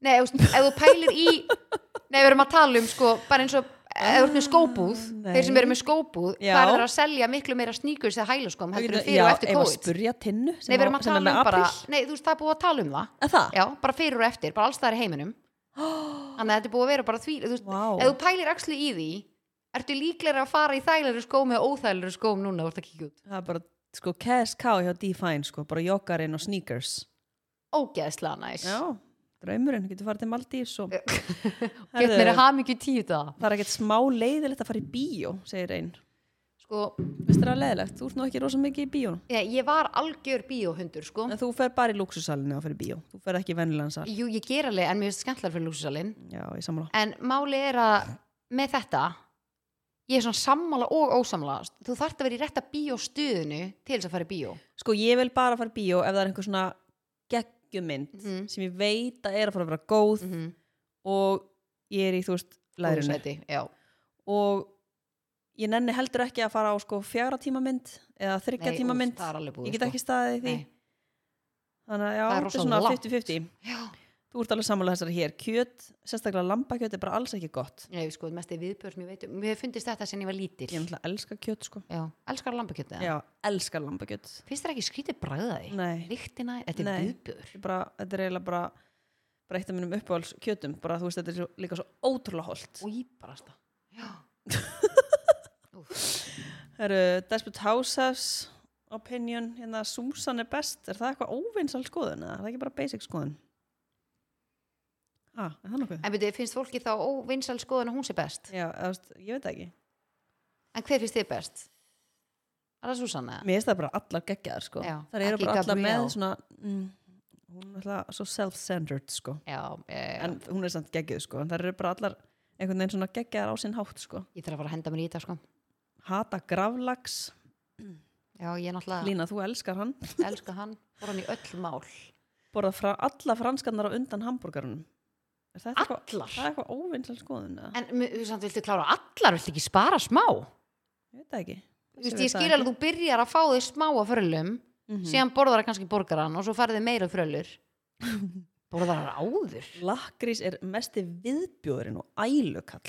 [SPEAKER 2] Nei, ef, þú- ef þú pælir í Nei, við erum að tala um sko bara eins og ef þú ert með skóbúð
[SPEAKER 1] Ah, Nei.
[SPEAKER 2] þeir sem eru með skóbúð
[SPEAKER 1] Já.
[SPEAKER 2] það er að selja miklu meira sníkur eða hæláskóm
[SPEAKER 1] Við
[SPEAKER 2] heldur
[SPEAKER 1] getum-
[SPEAKER 2] en fyrir
[SPEAKER 1] já,
[SPEAKER 2] og eftir
[SPEAKER 1] ef að
[SPEAKER 2] COVID
[SPEAKER 1] spurja tinnu sem,
[SPEAKER 2] Nei, við erum
[SPEAKER 1] á-
[SPEAKER 2] að
[SPEAKER 1] sem er
[SPEAKER 2] tala
[SPEAKER 1] með
[SPEAKER 2] um bara
[SPEAKER 1] apríl.
[SPEAKER 2] Nei, þú veist, það er búið að tala um það
[SPEAKER 1] Er það?
[SPEAKER 2] Já, bara fyrir og eftir, bara alls staðar í heiminum Þannig að þetta er búið að vera bara því þú veist,
[SPEAKER 1] Vá.
[SPEAKER 2] Ef þú pælir axli í því Ertu líklega að fara í þægilegri skóm eða óþægilegri skóm núna þú ert að kíkja út
[SPEAKER 1] Það er bara, sko, KSK hjá Define, sko, bara joggarinn og sneakers
[SPEAKER 2] Ógeðslega næs
[SPEAKER 1] Já, draumurinn, getur farið til Maldís og
[SPEAKER 2] Gett mér að
[SPEAKER 1] Herðu,
[SPEAKER 2] hafa mikið tíu það
[SPEAKER 1] það er ekkert smá leiðilegt að fara í bíó, segir einn
[SPEAKER 2] sko,
[SPEAKER 1] Veist það er leiðilegt, þú ert nú ekki rosa mikið í bíó
[SPEAKER 2] ég, ég var algjör bíóhundur sko.
[SPEAKER 1] En þú fer bara í luxusalinu að fyrir bíó, þú fer ekki í venjulegan sal
[SPEAKER 2] jú, ég ger alveg en mér finnst skemmtlar fyrir lúsusalinn
[SPEAKER 1] Já, ég sammála
[SPEAKER 2] en máli er að með þetta ég er svona sammála og ósammála þú þarft að vera í rétta bíóstuðinu til þess að fara í bíó
[SPEAKER 1] sko ég vil bara fara í bíó ef það er einhver svona geggjumynd
[SPEAKER 2] Mhm.
[SPEAKER 1] sem ég veit að er að fara að vera góð
[SPEAKER 2] mm -hmm.
[SPEAKER 1] og ég er í þú veist læðrinu
[SPEAKER 2] já,
[SPEAKER 1] og ég nenni heldur ekki að fara á sko fjara tíma mynd eða þryggja
[SPEAKER 2] Nei,
[SPEAKER 1] tíma
[SPEAKER 2] úff,
[SPEAKER 1] mynd
[SPEAKER 2] það er alveg búið,
[SPEAKER 1] ég get
[SPEAKER 2] sko.
[SPEAKER 1] ekki staðið í því
[SPEAKER 2] Nei.
[SPEAKER 1] þannig að já,
[SPEAKER 2] Það er
[SPEAKER 1] þetta
[SPEAKER 2] rosa
[SPEAKER 1] er svona
[SPEAKER 2] langt.
[SPEAKER 1] 50-50
[SPEAKER 2] já.
[SPEAKER 1] þú ert alveg sammála þessari hér kjöt, sérstaklega lambakjöt er bara alls ekki gott
[SPEAKER 2] Nei, sko, mest er viðbjörn sem ég veit um mér hefur fundist þetta sem ég var lítil
[SPEAKER 1] ég er náttúrulega elska kjöt sko
[SPEAKER 2] já, elskar lambakjötið
[SPEAKER 1] já, elska lambakjöt
[SPEAKER 2] finnst þér ekki skrítið bragðaði
[SPEAKER 1] nei,
[SPEAKER 2] líktina, þetta er
[SPEAKER 1] Nei.
[SPEAKER 2] viðbjörn
[SPEAKER 1] Ég bara, þetta er eiginlega bara bara eitt af mínum uppáhalds kjötum bara þú veist þetta er svo, líka svo ótrúlega holdt
[SPEAKER 2] og íbarasta já,
[SPEAKER 1] Það eru Desperate Housewives opinion, hérna Susan er best er það eitthvað óvinnsal skoðun eða er það ekki bara basic skoðun? Ah, er það nokkuð?
[SPEAKER 2] en byrju, finnst fólki þá óvinsal skoðan að hún sé best
[SPEAKER 1] Já, eða, þú veist, ég veit það ekki
[SPEAKER 2] En hver finnst þið best? Er það Susanna?
[SPEAKER 1] Mér finnst það bara allar geggjaðar sko.
[SPEAKER 2] Já,
[SPEAKER 1] Það eru
[SPEAKER 2] ekki
[SPEAKER 1] bara allar með
[SPEAKER 2] Gabrielle.
[SPEAKER 1] svona, mm, hún er alltaf svo self-centered sko.
[SPEAKER 2] Já, eh,
[SPEAKER 1] En hún er samt geggjuð sko. En það eru bara allar einhvern veginn svona geggjaðar á sinn hátt sko.
[SPEAKER 2] ég þarf að fara að henda mér í þetta sko.
[SPEAKER 1] Hata gravlags,
[SPEAKER 2] Já, ég náttúrulega
[SPEAKER 1] Lína þú elskar hann.
[SPEAKER 2] elska hann, fór hann í öll mál.
[SPEAKER 1] Borða fra, alla franskarnar á undan hambúrgarunum. Er þetta
[SPEAKER 2] Allar?
[SPEAKER 1] Eitthvað, það er eitthvað óvinnslega skoðun. eða?
[SPEAKER 2] En mu- þú samt viltu klára allar, viltu ekki spara smá?
[SPEAKER 1] Ég veit það ekki.
[SPEAKER 2] Þú veist,
[SPEAKER 1] veit
[SPEAKER 2] ég
[SPEAKER 1] það
[SPEAKER 2] skil
[SPEAKER 1] ekki. Mhm.
[SPEAKER 2] alveg að þú byrjar að fá þig smá að frölum, síðan borðar það kannski borgaran og svo farið þið meira frölur. borðar það áður?
[SPEAKER 1] Lakrís er mesti viðbjóðurinn og ælukall.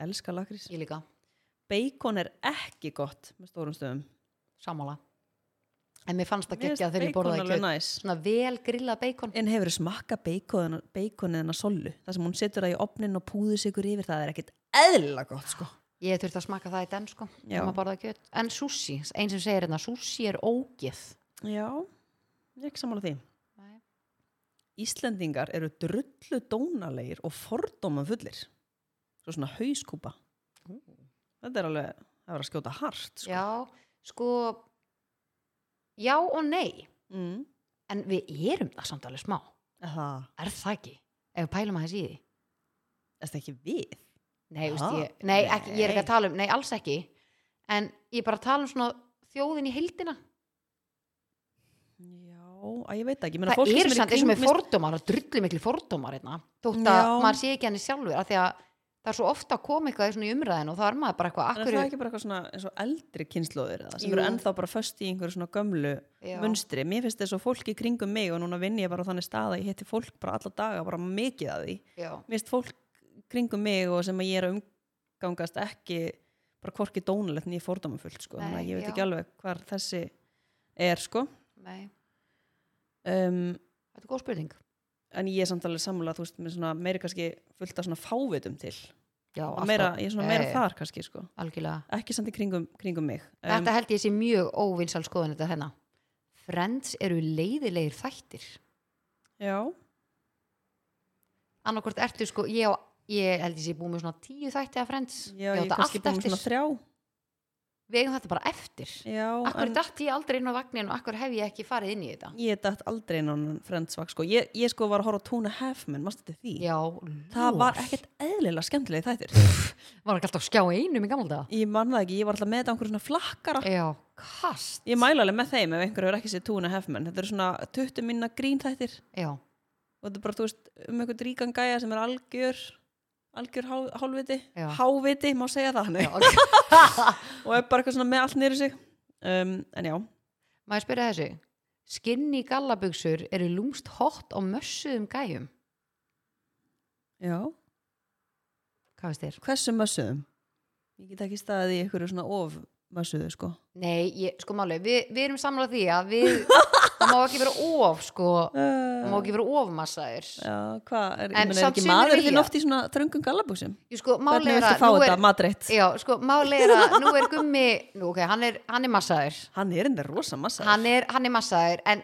[SPEAKER 1] Elskar lakrís.
[SPEAKER 2] Ég líka,
[SPEAKER 1] Bacon er ekki gott með stórum stöðum.
[SPEAKER 2] sammála. En mér fannst það
[SPEAKER 1] Mér
[SPEAKER 2] geggja
[SPEAKER 1] finnst
[SPEAKER 2] þegar ég
[SPEAKER 1] bacon
[SPEAKER 2] borðaði
[SPEAKER 1] alveg
[SPEAKER 2] kjöt.
[SPEAKER 1] næs.
[SPEAKER 2] Svona vel grillað beikon.
[SPEAKER 1] En hefur smakka beikonina beikonina sollu, þar sem hún setur það í opnin og púður sigur yfir, það er ekkit eðla gott sko.
[SPEAKER 2] Ég þurfti að smaka það í den sko,
[SPEAKER 1] Já.
[SPEAKER 2] þegar maður borðaði kjöt. En sushi, einn sem segir hérna, sushi er ógeð.
[SPEAKER 1] Já, ég er ekki sammála því.
[SPEAKER 2] Nei.
[SPEAKER 1] Íslendingar eru drullu dónalegir og fordóma fullir. Svo svona hauskúpa. sko. Þetta er alveg, það var að skjóta hart sko.
[SPEAKER 2] Já, sko Já og nei
[SPEAKER 1] Mm.
[SPEAKER 2] En við erum það samt alveg smá
[SPEAKER 1] Er Það,
[SPEAKER 2] Er það ekki? Ef við pælum að þessi í því
[SPEAKER 1] er það ekki við?
[SPEAKER 2] Nei,
[SPEAKER 1] Ha?
[SPEAKER 2] veist, ég, nei, ekki, ég er ekki
[SPEAKER 1] Nei.
[SPEAKER 2] að tala um Nei, alls ekki En ég er bara að tala um svona þjóðin í hildina
[SPEAKER 1] Já, að ég veit ekki. Ég meina,
[SPEAKER 2] Það
[SPEAKER 1] fólkið
[SPEAKER 2] er
[SPEAKER 1] sem í
[SPEAKER 2] samt eins og
[SPEAKER 1] kring-
[SPEAKER 2] með fordómar og drullu miklu fordómar einna, þótt að
[SPEAKER 1] Já.
[SPEAKER 2] maður sé ekki henni sjálfur af því að það er svo ofta að koma eitthvað í svona umræðin og það er maður bara eitthvað
[SPEAKER 1] En er það
[SPEAKER 2] akkur
[SPEAKER 1] ekki bara eitthvað svona eins og eldri kynnslóðir eða, sem
[SPEAKER 2] Jú.
[SPEAKER 1] eru ennþá bara föst í einhverju svona gömlu
[SPEAKER 2] Já.
[SPEAKER 1] munstri. Mér finnst þess að fólk í kringum mig og núna vinn ég bara á þannig stað að ég hitti fólk bara alla daga, bara mikið að því.
[SPEAKER 2] Já,
[SPEAKER 1] Mér finnst fólk kringum mig og sem að ég er að umgangast ekki bara hvorki dónulegt nýja fordómafullt sko. Þannig að
[SPEAKER 2] Nei,
[SPEAKER 1] ég veit
[SPEAKER 2] já.
[SPEAKER 1] ekki alveg hvar þessi er sko.
[SPEAKER 2] nei,
[SPEAKER 1] Um,
[SPEAKER 2] þetta er góð spurning
[SPEAKER 1] en ég er samt alveg sammála, þú veist, með svona meiri kannski fullt af svona fávitum til.
[SPEAKER 2] Já,
[SPEAKER 1] Og Meira, ég er svona meira
[SPEAKER 2] Eh,
[SPEAKER 1] þar kannski sko.
[SPEAKER 2] Algjörlega
[SPEAKER 1] Ekki samt í kringum, kringum mig. Um,
[SPEAKER 2] Þetta held ég sé mjög óvinsal skoðun þetta hérna. Friends eru leiðilegir þættir.
[SPEAKER 1] já,
[SPEAKER 2] Annarkvort ertu sko, ég, á, ég held ég sé búið með svona tíu þætti af Friends.
[SPEAKER 1] já,
[SPEAKER 2] á
[SPEAKER 1] ég er
[SPEAKER 2] þetta
[SPEAKER 1] kannski
[SPEAKER 2] allt
[SPEAKER 1] búin með
[SPEAKER 2] eftir.
[SPEAKER 1] svona þrjá.
[SPEAKER 2] Við eigum þetta bara eftir.
[SPEAKER 1] Já,
[SPEAKER 2] Akkur datt ég aldrei inn á vagnin og akkur hef ég ekki farið inn í þetta?
[SPEAKER 1] Ég dætt aldrei inn á hann Friendsvag sko. Ég, ég sko var að horfa á Tuna Hefman, mástu þetta því?
[SPEAKER 2] Já,
[SPEAKER 1] Það var
[SPEAKER 2] lúr.
[SPEAKER 1] ekkert eðlilega skemmtilegi þættir.
[SPEAKER 2] Var ekki alltaf að skjá einum í gamla daga?
[SPEAKER 1] Ég man það ekki, ég var alltaf með þetta á einhverju svona flakkara.
[SPEAKER 2] Já, kast.
[SPEAKER 1] Ég mæla alveg með þeim ef einhver hefur ekki séð Tuna Hefman. Þetta eru svona 20 minna grín þættir
[SPEAKER 2] Já,
[SPEAKER 1] og þetta er bara, þú veist, um einhvern ríkan gæja sem er algjör, algjör hál, hálfviti,
[SPEAKER 2] Já.
[SPEAKER 1] háviti, má segja það hann
[SPEAKER 2] já ok.
[SPEAKER 1] og er bara eitthvað svona með allt niður sig. Um, en já,
[SPEAKER 2] Má ég spyrja þessu? Skinni gallabugsur eru lúmst hott á mössuðum gæjum.
[SPEAKER 1] já,
[SPEAKER 2] Hvað veist þér?
[SPEAKER 1] hversu mössuðum? Ég get ekki staðið í einhverju svona of mössuðu sko.
[SPEAKER 2] Nei, ég, sko máli, við, við erum samlað því að við, það má ekki vera of, sko, það má ekki vera ofmassaður.
[SPEAKER 1] Uh, Já, hvað, er, ég
[SPEAKER 2] En
[SPEAKER 1] meina, er
[SPEAKER 2] samt
[SPEAKER 1] ekki
[SPEAKER 2] sumir
[SPEAKER 1] maður
[SPEAKER 2] vilja.
[SPEAKER 1] þinn oft í svona þröngum gallabúsum?
[SPEAKER 2] Jú, sko, máli
[SPEAKER 1] Hvernig
[SPEAKER 2] er
[SPEAKER 1] viltu
[SPEAKER 2] að,
[SPEAKER 1] fá
[SPEAKER 2] nú
[SPEAKER 1] þetta,
[SPEAKER 2] er,
[SPEAKER 1] matreitt?
[SPEAKER 2] já, sko, máli er að, nú er gummi, nú, ok, hann er, hann er massaður,
[SPEAKER 1] Hann er enda rosa massa.
[SPEAKER 2] hann er, hann er massaður, en,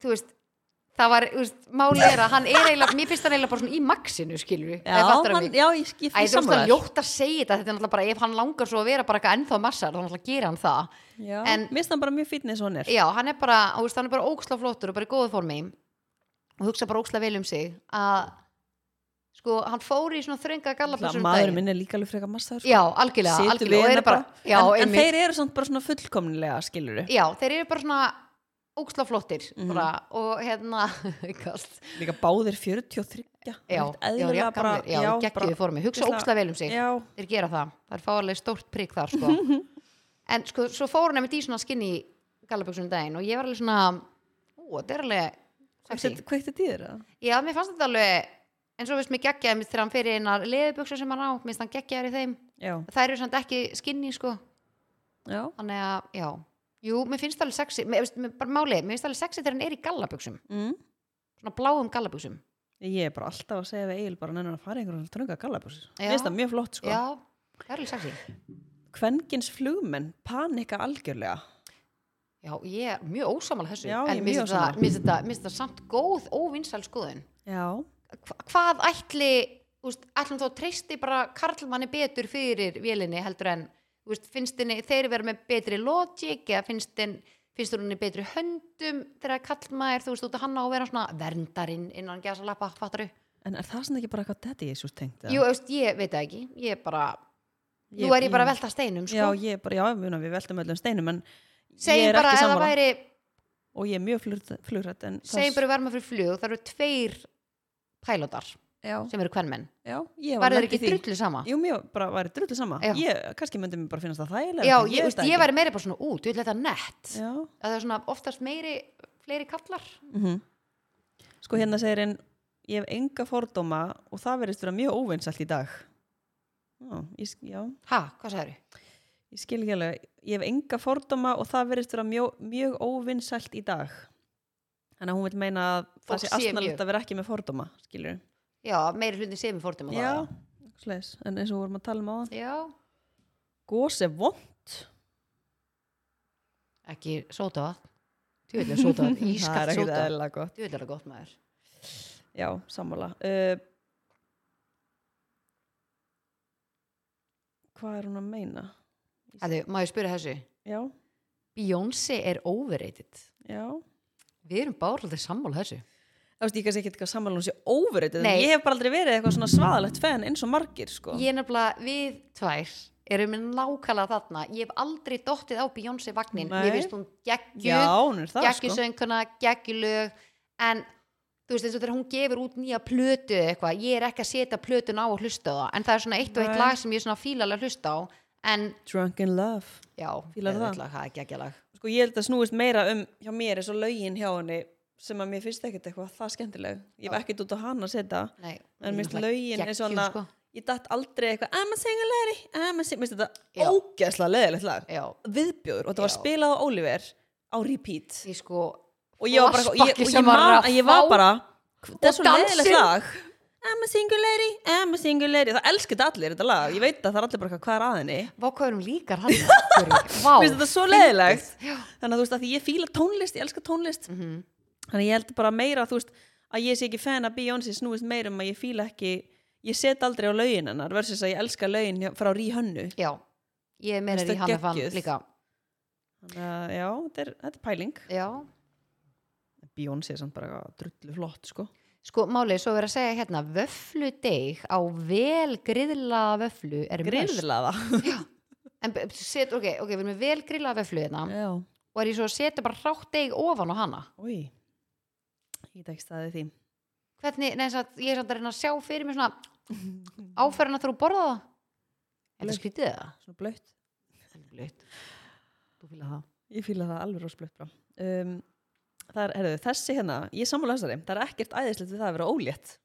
[SPEAKER 2] þú veist, það var, þú veist, máli er að hann er eiginlega, mér finnst hann eiginlega bara svona í maxinu, skilur við,
[SPEAKER 1] já, hann, já, ég skil
[SPEAKER 2] Æ,
[SPEAKER 1] því
[SPEAKER 2] þú veist það er
[SPEAKER 1] saman.
[SPEAKER 2] ljótt að segja þetta, þetta er náttúrulega bara, ef hann langar svo að vera bara eitthvað ennþá massaður, þá náttúrulega gerir hann það.
[SPEAKER 1] Já,
[SPEAKER 2] en-
[SPEAKER 1] mér finnst hann bara mjög fítni eins og hann er.
[SPEAKER 2] Já, hann er bara, þú veist, hann er bara óksla flottur og bara í góðu formi og hugsa bara óksla vel um sig að sko, hann fór í svona þrönga
[SPEAKER 1] Það
[SPEAKER 2] gallabuxur um
[SPEAKER 1] maður
[SPEAKER 2] daginn.
[SPEAKER 1] minn er líka alveg frekar massa.
[SPEAKER 2] Já, algjörlega,
[SPEAKER 1] Sýtu við
[SPEAKER 2] algjörlega og
[SPEAKER 1] hennar
[SPEAKER 2] eru bara,
[SPEAKER 1] bara.
[SPEAKER 2] já,
[SPEAKER 1] en, en
[SPEAKER 2] einmitt.
[SPEAKER 1] þeir eru samt bara svona fullkomnilega, skilur við.
[SPEAKER 2] já, þeir eru bara svona óksla flottir
[SPEAKER 1] Mhm.
[SPEAKER 2] bara, og hérna kast,
[SPEAKER 1] Líka báðir 43.
[SPEAKER 2] já,
[SPEAKER 1] Ekkert
[SPEAKER 2] já,
[SPEAKER 1] eðlilega
[SPEAKER 2] já,
[SPEAKER 1] bara-
[SPEAKER 2] já, já
[SPEAKER 1] bara-
[SPEAKER 2] geggjuðu formi, hugsa
[SPEAKER 1] Ógeðslega-
[SPEAKER 2] óksla vel um sig
[SPEAKER 1] Já,
[SPEAKER 2] þeir gera það, það er fáarlega stórt prigg þar sko. en sko, svo fór hann einmitt í svona skinni gallabuxunum daginn og ég var alveg svona ú, þetta er alveg sexy.
[SPEAKER 1] hveikt þetta í þér? eða?
[SPEAKER 2] Já, mér fannst þetta alveg eins og veist mér geggjaði mér þegar hann fyrir einar leðuböksu sem hann á, minnst hann geggjaðar í þeim
[SPEAKER 1] Já,
[SPEAKER 2] það eru samt ekki skinni sko
[SPEAKER 1] já.
[SPEAKER 2] þannig að, já, jú, mér finnst það alveg sexy mér, veist, mér, bara máli, mér finnst það alveg sexy þegar hann er í gallaböksum
[SPEAKER 1] Mm.
[SPEAKER 2] svona bláum gallaböksum
[SPEAKER 1] Ég er bara alltaf að segja við Egil bara nefnir að fara í einhverjum þrönga gallabúsum.
[SPEAKER 2] Já.
[SPEAKER 1] Mér finnst það mjög flott, sko.
[SPEAKER 2] já, það er alveg sexy
[SPEAKER 1] kvenkins flugmenn panika algjörlega
[SPEAKER 2] já, ég er mjög ósamal þessu
[SPEAKER 1] Já, ég er
[SPEAKER 2] en mér
[SPEAKER 1] mjög
[SPEAKER 2] finnst það-
[SPEAKER 1] ósammála.
[SPEAKER 2] mér finnst þetta- mér finnst það samt góð óvinsæl skoðun
[SPEAKER 1] já,
[SPEAKER 2] Hva, hvað ætli úst, ætlum þá treysti bara karlmanni betur fyrir vélinni heldur en Þú veist, finnst henni, þeir vera með betri logic eða finnst henni finnst þú henni betri höndum þegar kallmaður, þú veist, út að hann á að vera svona verndarinn innan gæsa lappa, fattaru
[SPEAKER 1] En er það svona ekki bara eitthvað daddy issues tengt? eða?
[SPEAKER 2] Jú, þú veist, ég veit það ekki, ég er bara
[SPEAKER 1] Ég-
[SPEAKER 2] nú er ég bara að
[SPEAKER 1] ég-
[SPEAKER 2] velta steinum, sko
[SPEAKER 1] Já, ég er bara, já, muna, við veltum öllum steinum en ég
[SPEAKER 2] segjum
[SPEAKER 1] er
[SPEAKER 2] bara
[SPEAKER 1] ekki
[SPEAKER 2] ef það
[SPEAKER 1] sammála
[SPEAKER 2] væri,
[SPEAKER 1] og ég er mjög flugrætt, flugrætt en það-
[SPEAKER 2] segjum bara við verma fyrir flug það eru tveir pælotar
[SPEAKER 1] já,
[SPEAKER 2] sem eru kvenmenn,
[SPEAKER 1] já, ég var
[SPEAKER 2] var þeir
[SPEAKER 1] lent í
[SPEAKER 2] ekki
[SPEAKER 1] því.
[SPEAKER 2] drullu sama?
[SPEAKER 1] Jú, mér bara væri drullu sama
[SPEAKER 2] Já.
[SPEAKER 1] ég, Kannski myndi mér bara finnast það þægilega
[SPEAKER 2] Já, ég, veist, ég væri meira bara svona út, ég vil þetta nett
[SPEAKER 1] Já,
[SPEAKER 2] að það er svona oftast meiri fleiri kallar
[SPEAKER 1] mm
[SPEAKER 2] Mhm.
[SPEAKER 1] Sko hérna segir en ég hef enga fordóma og það verðist vera mjög óvinsalt í dag Já, ég, sk- já,
[SPEAKER 2] ha, hvað sagður?
[SPEAKER 1] ég skil ekki alveg Ég hef enga fordóma og það verðist vera mjög, mjög óvinsalt í dag Þannig að hún vil meina að
[SPEAKER 2] Fólk
[SPEAKER 1] það sé
[SPEAKER 2] sé mjög-
[SPEAKER 1] astnalegt að vera ekki með fordóma, skilur
[SPEAKER 2] já, meiri hlutin sem við fórtum
[SPEAKER 1] Já, eitthvað svoleiðis. en eins og við vorum að tala um á það
[SPEAKER 2] já,
[SPEAKER 1] Gós er vond
[SPEAKER 2] ekki sóta tjóðlega sóta, ískalt sóta
[SPEAKER 1] eðlilega gott
[SPEAKER 2] tjóðlega gott maður
[SPEAKER 1] Já, sammála uh, Hvað er hún að meina?
[SPEAKER 2] Æðu, má ég spyrja þessu,
[SPEAKER 1] Já,
[SPEAKER 2] Beyoncé er overrated
[SPEAKER 1] já
[SPEAKER 2] við erum bárhaldir sammála þessu
[SPEAKER 1] Það veist, ég kannski ekki eitthvað sammála hún sé óverið en
[SPEAKER 2] Nei.
[SPEAKER 1] ég hef bara aldrei verið eitthvað svona svaðalegt fenn eins og margir, sko
[SPEAKER 2] ég er nefnilega, við tvær erum við nákvæmlega þarna, ég hef aldrei dottið á Beyoncé vagnin,
[SPEAKER 1] Nei.
[SPEAKER 2] mér finnst hún geggju,
[SPEAKER 1] Já, hún er það, sko
[SPEAKER 2] geggjusönguna geggjulög, en þú veist eins og þegar hún gefur út nýja plötu eða eitthvað, ég er ekki að setja plötun á og hlusta á það, en það er svona eitt og eitt
[SPEAKER 1] Nei.
[SPEAKER 2] lag sem ég er svona fílalega hlusta á, en
[SPEAKER 1] Drunk in love
[SPEAKER 2] já,
[SPEAKER 1] Fílarðu það?
[SPEAKER 2] geðveikt lag, það er geggjalag
[SPEAKER 1] Sko, ég held að snúist meira um hjá mér eins og lögin hjá henni sem að mér finnst ekkert eitthvað það skemmtileg Ég hef ekkert út á hana að setja
[SPEAKER 2] Nei, hún er
[SPEAKER 1] en mér finnst
[SPEAKER 2] náttúrulega
[SPEAKER 1] lögin eins og
[SPEAKER 2] geggjuð,
[SPEAKER 1] hana
[SPEAKER 2] sko.
[SPEAKER 1] ég datt aldrei eitthvað I'm a single lady, I'm a single mér finnst
[SPEAKER 2] Já.
[SPEAKER 1] þetta ógeðslega leðilegt lag
[SPEAKER 2] Já,
[SPEAKER 1] viðbjóður og þetta var
[SPEAKER 2] Já.
[SPEAKER 1] spilað á Oliver á repeat
[SPEAKER 2] því sko
[SPEAKER 1] og ég var bara, og ég,
[SPEAKER 2] flashbacki
[SPEAKER 1] og
[SPEAKER 2] sem
[SPEAKER 1] ég,
[SPEAKER 2] maður er
[SPEAKER 1] man,
[SPEAKER 2] að
[SPEAKER 1] að ég var
[SPEAKER 2] fá.
[SPEAKER 1] bara þetta er svo leðilegt
[SPEAKER 2] dansinn.
[SPEAKER 1] lag I'm a single lady, I'm a single lady það elsku þetta allir þetta lag, ég veit að það er allir bara eitthvað, hvað er að henni
[SPEAKER 2] Vá, hvað erum líkar hann Vá,
[SPEAKER 1] mér finnst þetta svo leðilegt
[SPEAKER 2] Já.
[SPEAKER 1] þannig að þú veist að því ég fíla tónlist, ég elska tónlist
[SPEAKER 2] Mhm,
[SPEAKER 1] þannig að ég held bara meira þú veist, að ég sé ekki fan að Beyoncé snúist meira um að ég fíla ekki ég set aldrei á lögin hennar versus að ég elska lögin hjá- frá Ríhönnu
[SPEAKER 2] já, ég er meira
[SPEAKER 1] Finnst
[SPEAKER 2] því
[SPEAKER 1] það
[SPEAKER 2] hann fann
[SPEAKER 1] geggjuð?
[SPEAKER 2] líka
[SPEAKER 1] þannig að já, þetta er, þetta er pæling
[SPEAKER 2] Já,
[SPEAKER 1] Beyoncé er samt bara drullu flott sko
[SPEAKER 2] sko málið, svo er að segja hérna vöfludeig á vel griðlaða vöflu er must.
[SPEAKER 1] grillað
[SPEAKER 2] En b- set, ok, ok, við erum með vel griðlaða vöflu hérna
[SPEAKER 1] já,
[SPEAKER 2] og er ég svo að setja bara rátt deig ofan á hana
[SPEAKER 1] oi ég get ekki staðið því
[SPEAKER 2] Hvernig, neins að ég er samt að reyna að sjá fyrir mér svona áferðina þú borða það En það
[SPEAKER 1] Blautt.
[SPEAKER 2] skrítið það
[SPEAKER 1] svona blött,
[SPEAKER 2] Það er blöitt Þú fylgða það
[SPEAKER 1] ég fíla það alveg rosa blött um, það er, herðu, þessi hérna ég sammála þessari, það er ekkert æðislegt við það að vera ólétt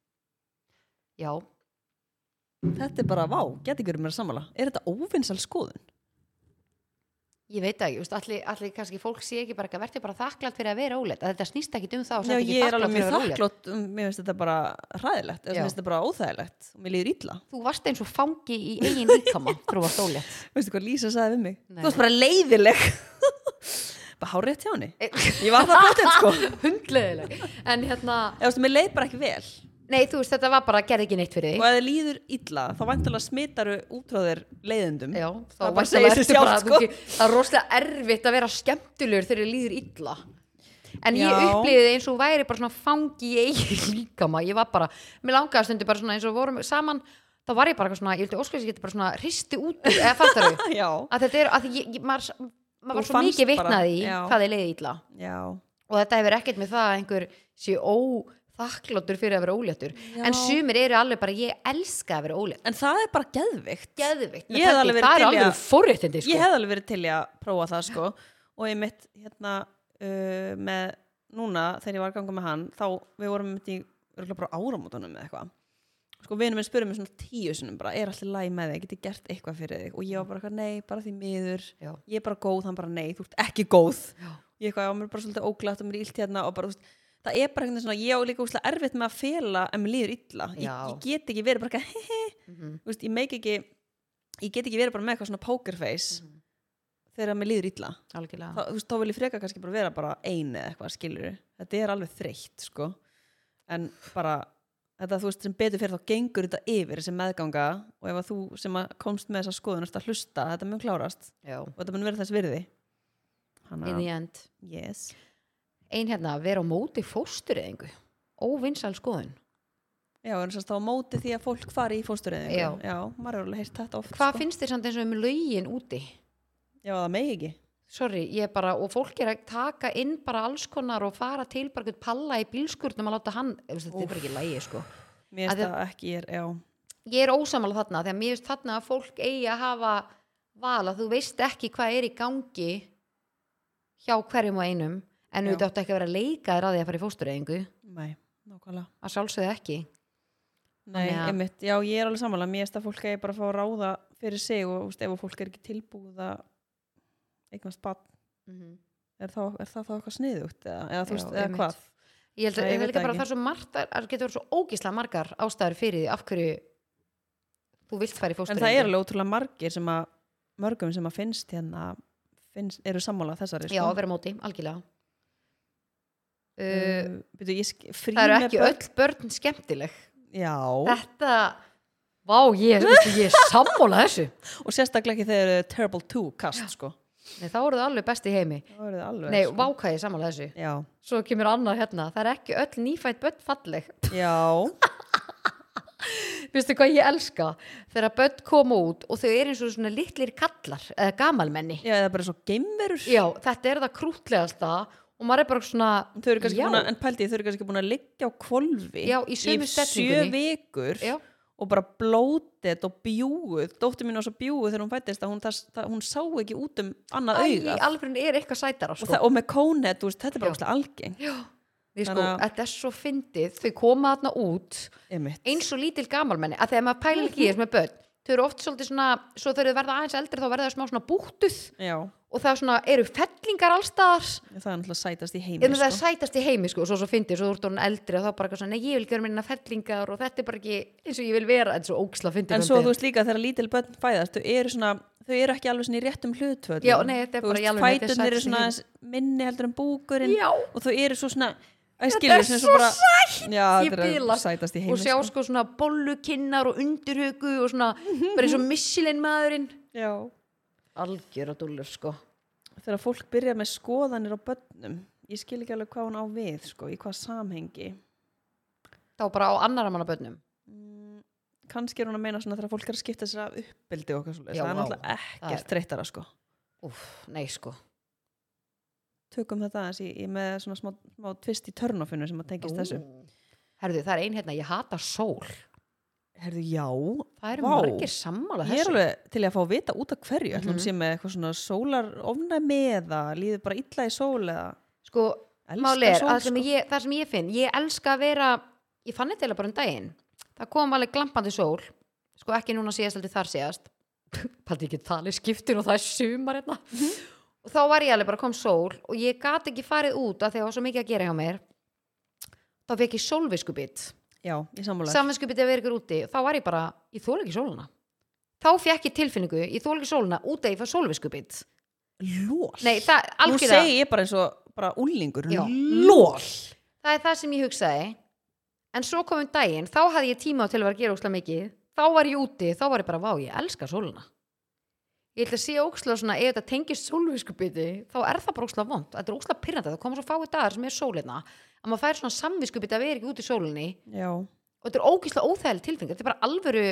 [SPEAKER 2] Já,
[SPEAKER 1] þetta er bara, vá, geti ekki verið mér að sammála er þetta óvinnsal skoðun?
[SPEAKER 2] ég veit það ekki, veist, allir, allir kannski fólk sé ekki bara eitthvað, verður bara þakklátt fyrir að vera óleitt að þetta snýst ekki um það og
[SPEAKER 1] Já,
[SPEAKER 2] sagt ekki
[SPEAKER 1] ég er alveg
[SPEAKER 2] þakklát fyrir
[SPEAKER 1] mjög
[SPEAKER 2] að vera óleitt
[SPEAKER 1] þakklátt um, mér finnst þetta bara hræðilegt eða
[SPEAKER 2] Já.
[SPEAKER 1] mér finnst þetta bara óþægilegt og mér líður illa
[SPEAKER 2] Þú varst eins og fangi í eigin líkama þú varst óleitt
[SPEAKER 1] veistu hvað Lísa sagði við mig?
[SPEAKER 2] Nei.
[SPEAKER 1] þú varst bara leiðileg bara hárétt hjá henni
[SPEAKER 2] E-
[SPEAKER 1] ég var það pottet sko
[SPEAKER 2] Hundleðileg En hérna,
[SPEAKER 1] eða veistu, mér leið bara ekki vel
[SPEAKER 2] nei þú veist þetta var bara gerði ekki neitt fyrir
[SPEAKER 1] og
[SPEAKER 2] því
[SPEAKER 1] ef þið líður illa þá vantilega smitaru útráðir leiðendum
[SPEAKER 2] Já, þá
[SPEAKER 1] Það bara
[SPEAKER 2] væntanlega
[SPEAKER 1] segir sig
[SPEAKER 2] ertu bara
[SPEAKER 1] sjálft, sko.
[SPEAKER 2] þú ekki- það er rosalega erfitt að vera skemmtilegur þegar þið líður illa En ég
[SPEAKER 1] Já.
[SPEAKER 2] upplýði eins og væri bara svona fangi í eigin líkama Ég var bara, mér langaði stundi bara svona eins og við vorum saman Þá var ég bara eitthvað svona, ég vildi óskvæðis ég geti bara svona hristi út úr, eða fattar þau
[SPEAKER 1] já,
[SPEAKER 2] að þetta er, að því ég, ég, maður, maður var
[SPEAKER 1] Þú
[SPEAKER 2] svo
[SPEAKER 1] fannst
[SPEAKER 2] mikið
[SPEAKER 1] bara,
[SPEAKER 2] vitnaði í
[SPEAKER 1] já.
[SPEAKER 2] hvað þið leiði illa
[SPEAKER 1] já.
[SPEAKER 2] og þetta hefur ekkert með það að einhver sé óþakkláttur fyrir að vera óléttur
[SPEAKER 1] Já.
[SPEAKER 2] en sumir eru alveg bara, ég elska að vera ólétt
[SPEAKER 1] en það er bara geðvikt
[SPEAKER 2] geðvikt,
[SPEAKER 1] Ég hefði alveg verið
[SPEAKER 2] það er
[SPEAKER 1] til í að-
[SPEAKER 2] alveg forréttindi sko.
[SPEAKER 1] ég hef alveg verið til í að prófa það sko og ég mitt hérna uh, með núna þegar ég var að ganga með hann þá við vorum mitt í örgulega bara áramótunum eða eitthvað sko vinur minn spurði mig svona tíu sinum bara er allir læg með þig, geti gert eitthvað fyrir þig og ég var bara eitthvað nei, bara því miður
[SPEAKER 2] Já.
[SPEAKER 1] ég er bara góð, hann bara nei, þú ert ekki góð
[SPEAKER 2] Já.
[SPEAKER 1] ég eitthvað, já, mér er bara svolítið óglætt og mér er illt hérna og bara, þú veist, það er bara eitthvað svona, ég á líka úslega erfitt með að fela en mér líður illa, ég,
[SPEAKER 2] Já.
[SPEAKER 1] ég get ekki verið bara eitthvað, he he,
[SPEAKER 2] Mhm,
[SPEAKER 1] þú veist, ég meik ekki ég get ekki verið bara með eitthvað svona poker face
[SPEAKER 2] Mhm.
[SPEAKER 1] þegar mér líður illa
[SPEAKER 2] algjörlega
[SPEAKER 1] þá, þú veist, þá vil ég freka kannski bara vera bara ein eða eitthvað, skilur þetta er alveg þreytt, sko en bara, þetta þú veist sem betur fyrir þá gengur þetta yfir sem meðganga og ef að þú sem að komst með þessa skoðun ert að hlusta, þetta mun klárast
[SPEAKER 2] Já,
[SPEAKER 1] og þetta mun verið þess virði Hanna,
[SPEAKER 2] in the end
[SPEAKER 1] yes
[SPEAKER 2] Ein hérna, vera á móti fóstureyðingu Óvinsæl skoðun
[SPEAKER 1] Já, en þess að á móti því að fólk fari í fóstureyðingu
[SPEAKER 2] Já.
[SPEAKER 1] Já, maður er alveg heyrt þetta oft
[SPEAKER 2] Hvað
[SPEAKER 1] sko.
[SPEAKER 2] finnst þér samt eins og um lögin úti?
[SPEAKER 1] Já, það megi ekki
[SPEAKER 2] Sorry, ég bara, og fólk er að taka inn bara alls konar og fara til bara eitthvað palla í bílskurnum að láta hann, þú veist, þetta er bara ekki lægi sko.
[SPEAKER 1] Mér finnst
[SPEAKER 2] Að
[SPEAKER 1] það ekki, ég er, já
[SPEAKER 2] Ég er ósamála þarna, því að mér finnst þarna að fólk eigi að hafa val að þú veist ekki hvað er í gangi hjá hverjum og einum, en
[SPEAKER 1] Já.
[SPEAKER 2] þú áttu ekki að vera að leika þér að því að fara í fóstureyðingu,
[SPEAKER 1] Nei, nákvæmlega
[SPEAKER 2] að sjálfsögðu ekki.
[SPEAKER 1] Nei,
[SPEAKER 2] Þannig að-
[SPEAKER 1] einmitt, já, ég er alveg sammála Mér finnst að fólk eigi bara að fá að ráða fyrir sig og úst, ef að fólk er ekki tilbúið að eignast bann, Mhm. er, þá- er það þá eitthvað sniðugt eða, eða þú
[SPEAKER 2] Já,
[SPEAKER 1] veist, eða
[SPEAKER 2] einmitt.
[SPEAKER 1] hvað
[SPEAKER 2] Ég held
[SPEAKER 1] Nei,
[SPEAKER 2] að,
[SPEAKER 1] ég
[SPEAKER 2] ég
[SPEAKER 1] veit
[SPEAKER 2] held
[SPEAKER 1] það
[SPEAKER 2] að bara
[SPEAKER 1] ekki.
[SPEAKER 2] það er svo margt, það getur verið svo ógísla margar ástæður fyrir því af hverju þú vilt
[SPEAKER 1] En
[SPEAKER 2] fara í
[SPEAKER 1] það er
[SPEAKER 2] fóstureyðingu.
[SPEAKER 1] alveg ótrúlega margir sem að mörgum sem að finnst hérna finnst, eru sammála þessari
[SPEAKER 2] Já,
[SPEAKER 1] sko.
[SPEAKER 2] að vera á móti, algjörlega. Uh,
[SPEAKER 1] uh, byrju, ég sk- frí
[SPEAKER 2] það eru
[SPEAKER 1] með
[SPEAKER 2] ekki
[SPEAKER 1] börn-
[SPEAKER 2] öll börn skemmtileg
[SPEAKER 1] Já,
[SPEAKER 2] þetta vá ég, veistu, ég er sammála þessu
[SPEAKER 1] og sérstaklega ekki þegar eru Terrible 2 kast sko.
[SPEAKER 2] nei, þá eru það alveg best í heimi
[SPEAKER 1] Það verður alveg
[SPEAKER 2] nei,
[SPEAKER 1] sko.
[SPEAKER 2] vá hvað ég er sammála þessu
[SPEAKER 1] Já,
[SPEAKER 2] svo kemur annað hérna, það eru ekki öll nýfætt börn falleg
[SPEAKER 1] já,
[SPEAKER 2] veistu hvað ég elska þegar börn koma út og þau eru eins og svona litlir kallar eða gamalmenni
[SPEAKER 1] já, eða bara svo geimverur
[SPEAKER 2] já, þetta er það krútlegasta og maður er bara svona
[SPEAKER 1] Þau eru kannski
[SPEAKER 2] já,
[SPEAKER 1] búin að, en pældi, ég, þau eru kannski búin að liggja á kvolfi
[SPEAKER 2] Já, í sömu
[SPEAKER 1] sjö
[SPEAKER 2] stellingunni.
[SPEAKER 1] vikur
[SPEAKER 2] já,
[SPEAKER 1] og bara blótet og bjúið dóttir mín var svo bjúið þegar hún fættist að hún, það, það, hún sá ekki út um annað
[SPEAKER 2] æ,
[SPEAKER 1] auga
[SPEAKER 2] alveg er eitthvað sætara
[SPEAKER 1] og,
[SPEAKER 2] sko.
[SPEAKER 1] það, og með kónet, þú veist, þetta er bara
[SPEAKER 2] Já.
[SPEAKER 1] ógeðslega algeng
[SPEAKER 2] já, því sko,
[SPEAKER 1] Þannig að-
[SPEAKER 2] þetta er svo fyndið þau koma þarna út
[SPEAKER 1] Einmitt.
[SPEAKER 2] eins og lítil gamalmenni að þegar maður pælir ekki í þess með börn þau eru oft svolítið svona, svo þegar þau verða aðeins eldri þá verða þau smá svona búttuð
[SPEAKER 1] Já,
[SPEAKER 2] og það svona, eru fellingar allstaðar
[SPEAKER 1] það er náttúrulega sætast í heimi
[SPEAKER 2] en það er sætast í heimi sko, og svo svo fyndið, svo þú ert orðin eldri og þá bara eitthvað svona, nei ég vil gera minna fellingar og þetta er bara ekki eins og ég vil vera, en svo óksla fyndið
[SPEAKER 1] En svo þú veist líka þegar lítil börn fæðast þau eru, svona, þau eru ekki alveg svona í réttum hlutvöld
[SPEAKER 2] Já, nei, þetta er bara í alveg- þetta er
[SPEAKER 1] Fæturnir eru
[SPEAKER 2] sætt
[SPEAKER 1] svona
[SPEAKER 2] sem-
[SPEAKER 1] aðeins minni heldur en búkurinn
[SPEAKER 2] Já.
[SPEAKER 1] og þau eru svo svona Æ,
[SPEAKER 2] Þetta
[SPEAKER 1] skilur,
[SPEAKER 2] er
[SPEAKER 1] svona
[SPEAKER 2] svo
[SPEAKER 1] bara, sætt Já,
[SPEAKER 2] Ég
[SPEAKER 1] þetta er
[SPEAKER 2] bila.
[SPEAKER 1] að sætast í heimi
[SPEAKER 2] og sjá sko svona bollukinnar og undurhugu og svona, bara eins og missilinn maðurinn
[SPEAKER 1] Já.
[SPEAKER 2] algjör og dúllur sko
[SPEAKER 1] Þegar fólk byrja með skoðanir á börnum ég skil ekki alveg hvað hún á við sko, í hvað samhengi
[SPEAKER 2] þá bara á annara manna börnum
[SPEAKER 1] mm, kannski er hún að meina svona þegar fólk er að skipta sér af uppbyldi og okkar svo
[SPEAKER 2] Já,
[SPEAKER 1] það er
[SPEAKER 2] vá.
[SPEAKER 1] náttúrulega
[SPEAKER 2] Það
[SPEAKER 1] ekkert
[SPEAKER 2] er-
[SPEAKER 1] þreyttara sko
[SPEAKER 2] Úf, nei sko,
[SPEAKER 1] tökum þetta aðeins í, í með svona smá, smá tvist í törnofinu sem að tengist þessu
[SPEAKER 2] herðu það er ein hérna, ég hata sól
[SPEAKER 1] Herðu, já,
[SPEAKER 2] Það eru
[SPEAKER 1] Vá.
[SPEAKER 2] margir sammála
[SPEAKER 1] ég er
[SPEAKER 2] þessu.
[SPEAKER 1] alveg til í að fá að vita út af hverju ætlum
[SPEAKER 2] Mhm.
[SPEAKER 1] sé með eitthvað svona sólar ofnæmi eða líður bara illa í sól eða
[SPEAKER 2] Sko,
[SPEAKER 1] elskar
[SPEAKER 2] máli er,
[SPEAKER 1] sól,
[SPEAKER 2] það sem,
[SPEAKER 1] sko.
[SPEAKER 2] ég, það sem ég finn, ég elska að vera, ég fann þetta eiginlega bara um daginn. Það kom alveg glampandi sól, sko ekki núna síðast heldur þar síðast. Paldi ekki talið skiptin og það er sumar hérna. og þá var ég alveg bara kom sól og ég gat ekki farið út af því að það var svo mikið að gera hjá mér. Þá fekk ég sólviskubitt.
[SPEAKER 1] já, í sammála
[SPEAKER 2] Samvinskupið að vera ykkur úti þá var ég bara, ég þóla ekki sóluna. Þá fekk ég tilfinningu, ég þóla ekki sóluna út að ég fæ sólviskubitt.
[SPEAKER 1] lól,
[SPEAKER 2] Nei, það
[SPEAKER 1] nú
[SPEAKER 2] algjörða.
[SPEAKER 1] segi ég bara eins og bara úlingur,
[SPEAKER 2] Já.
[SPEAKER 1] lól
[SPEAKER 2] það er það sem ég hugsaði en svo komum daginn, þá hafði ég tíma til að vera að gera ókslega mikið, þá var ég úti þá var ég bara, vá, ég elska sóluna ég ætla að sé ókslega svona, ef þetta tengist sólviskubiti, þá er það bara ókslega vond þetta er ókslega pyrrandi, það koma svo fáið dagar sem er sólina að maður fær svona samviskubiti að vera ekki úti í sólinni
[SPEAKER 1] já,
[SPEAKER 2] og þetta er ókslega óþægileg tilfengar, þetta er bara alvöru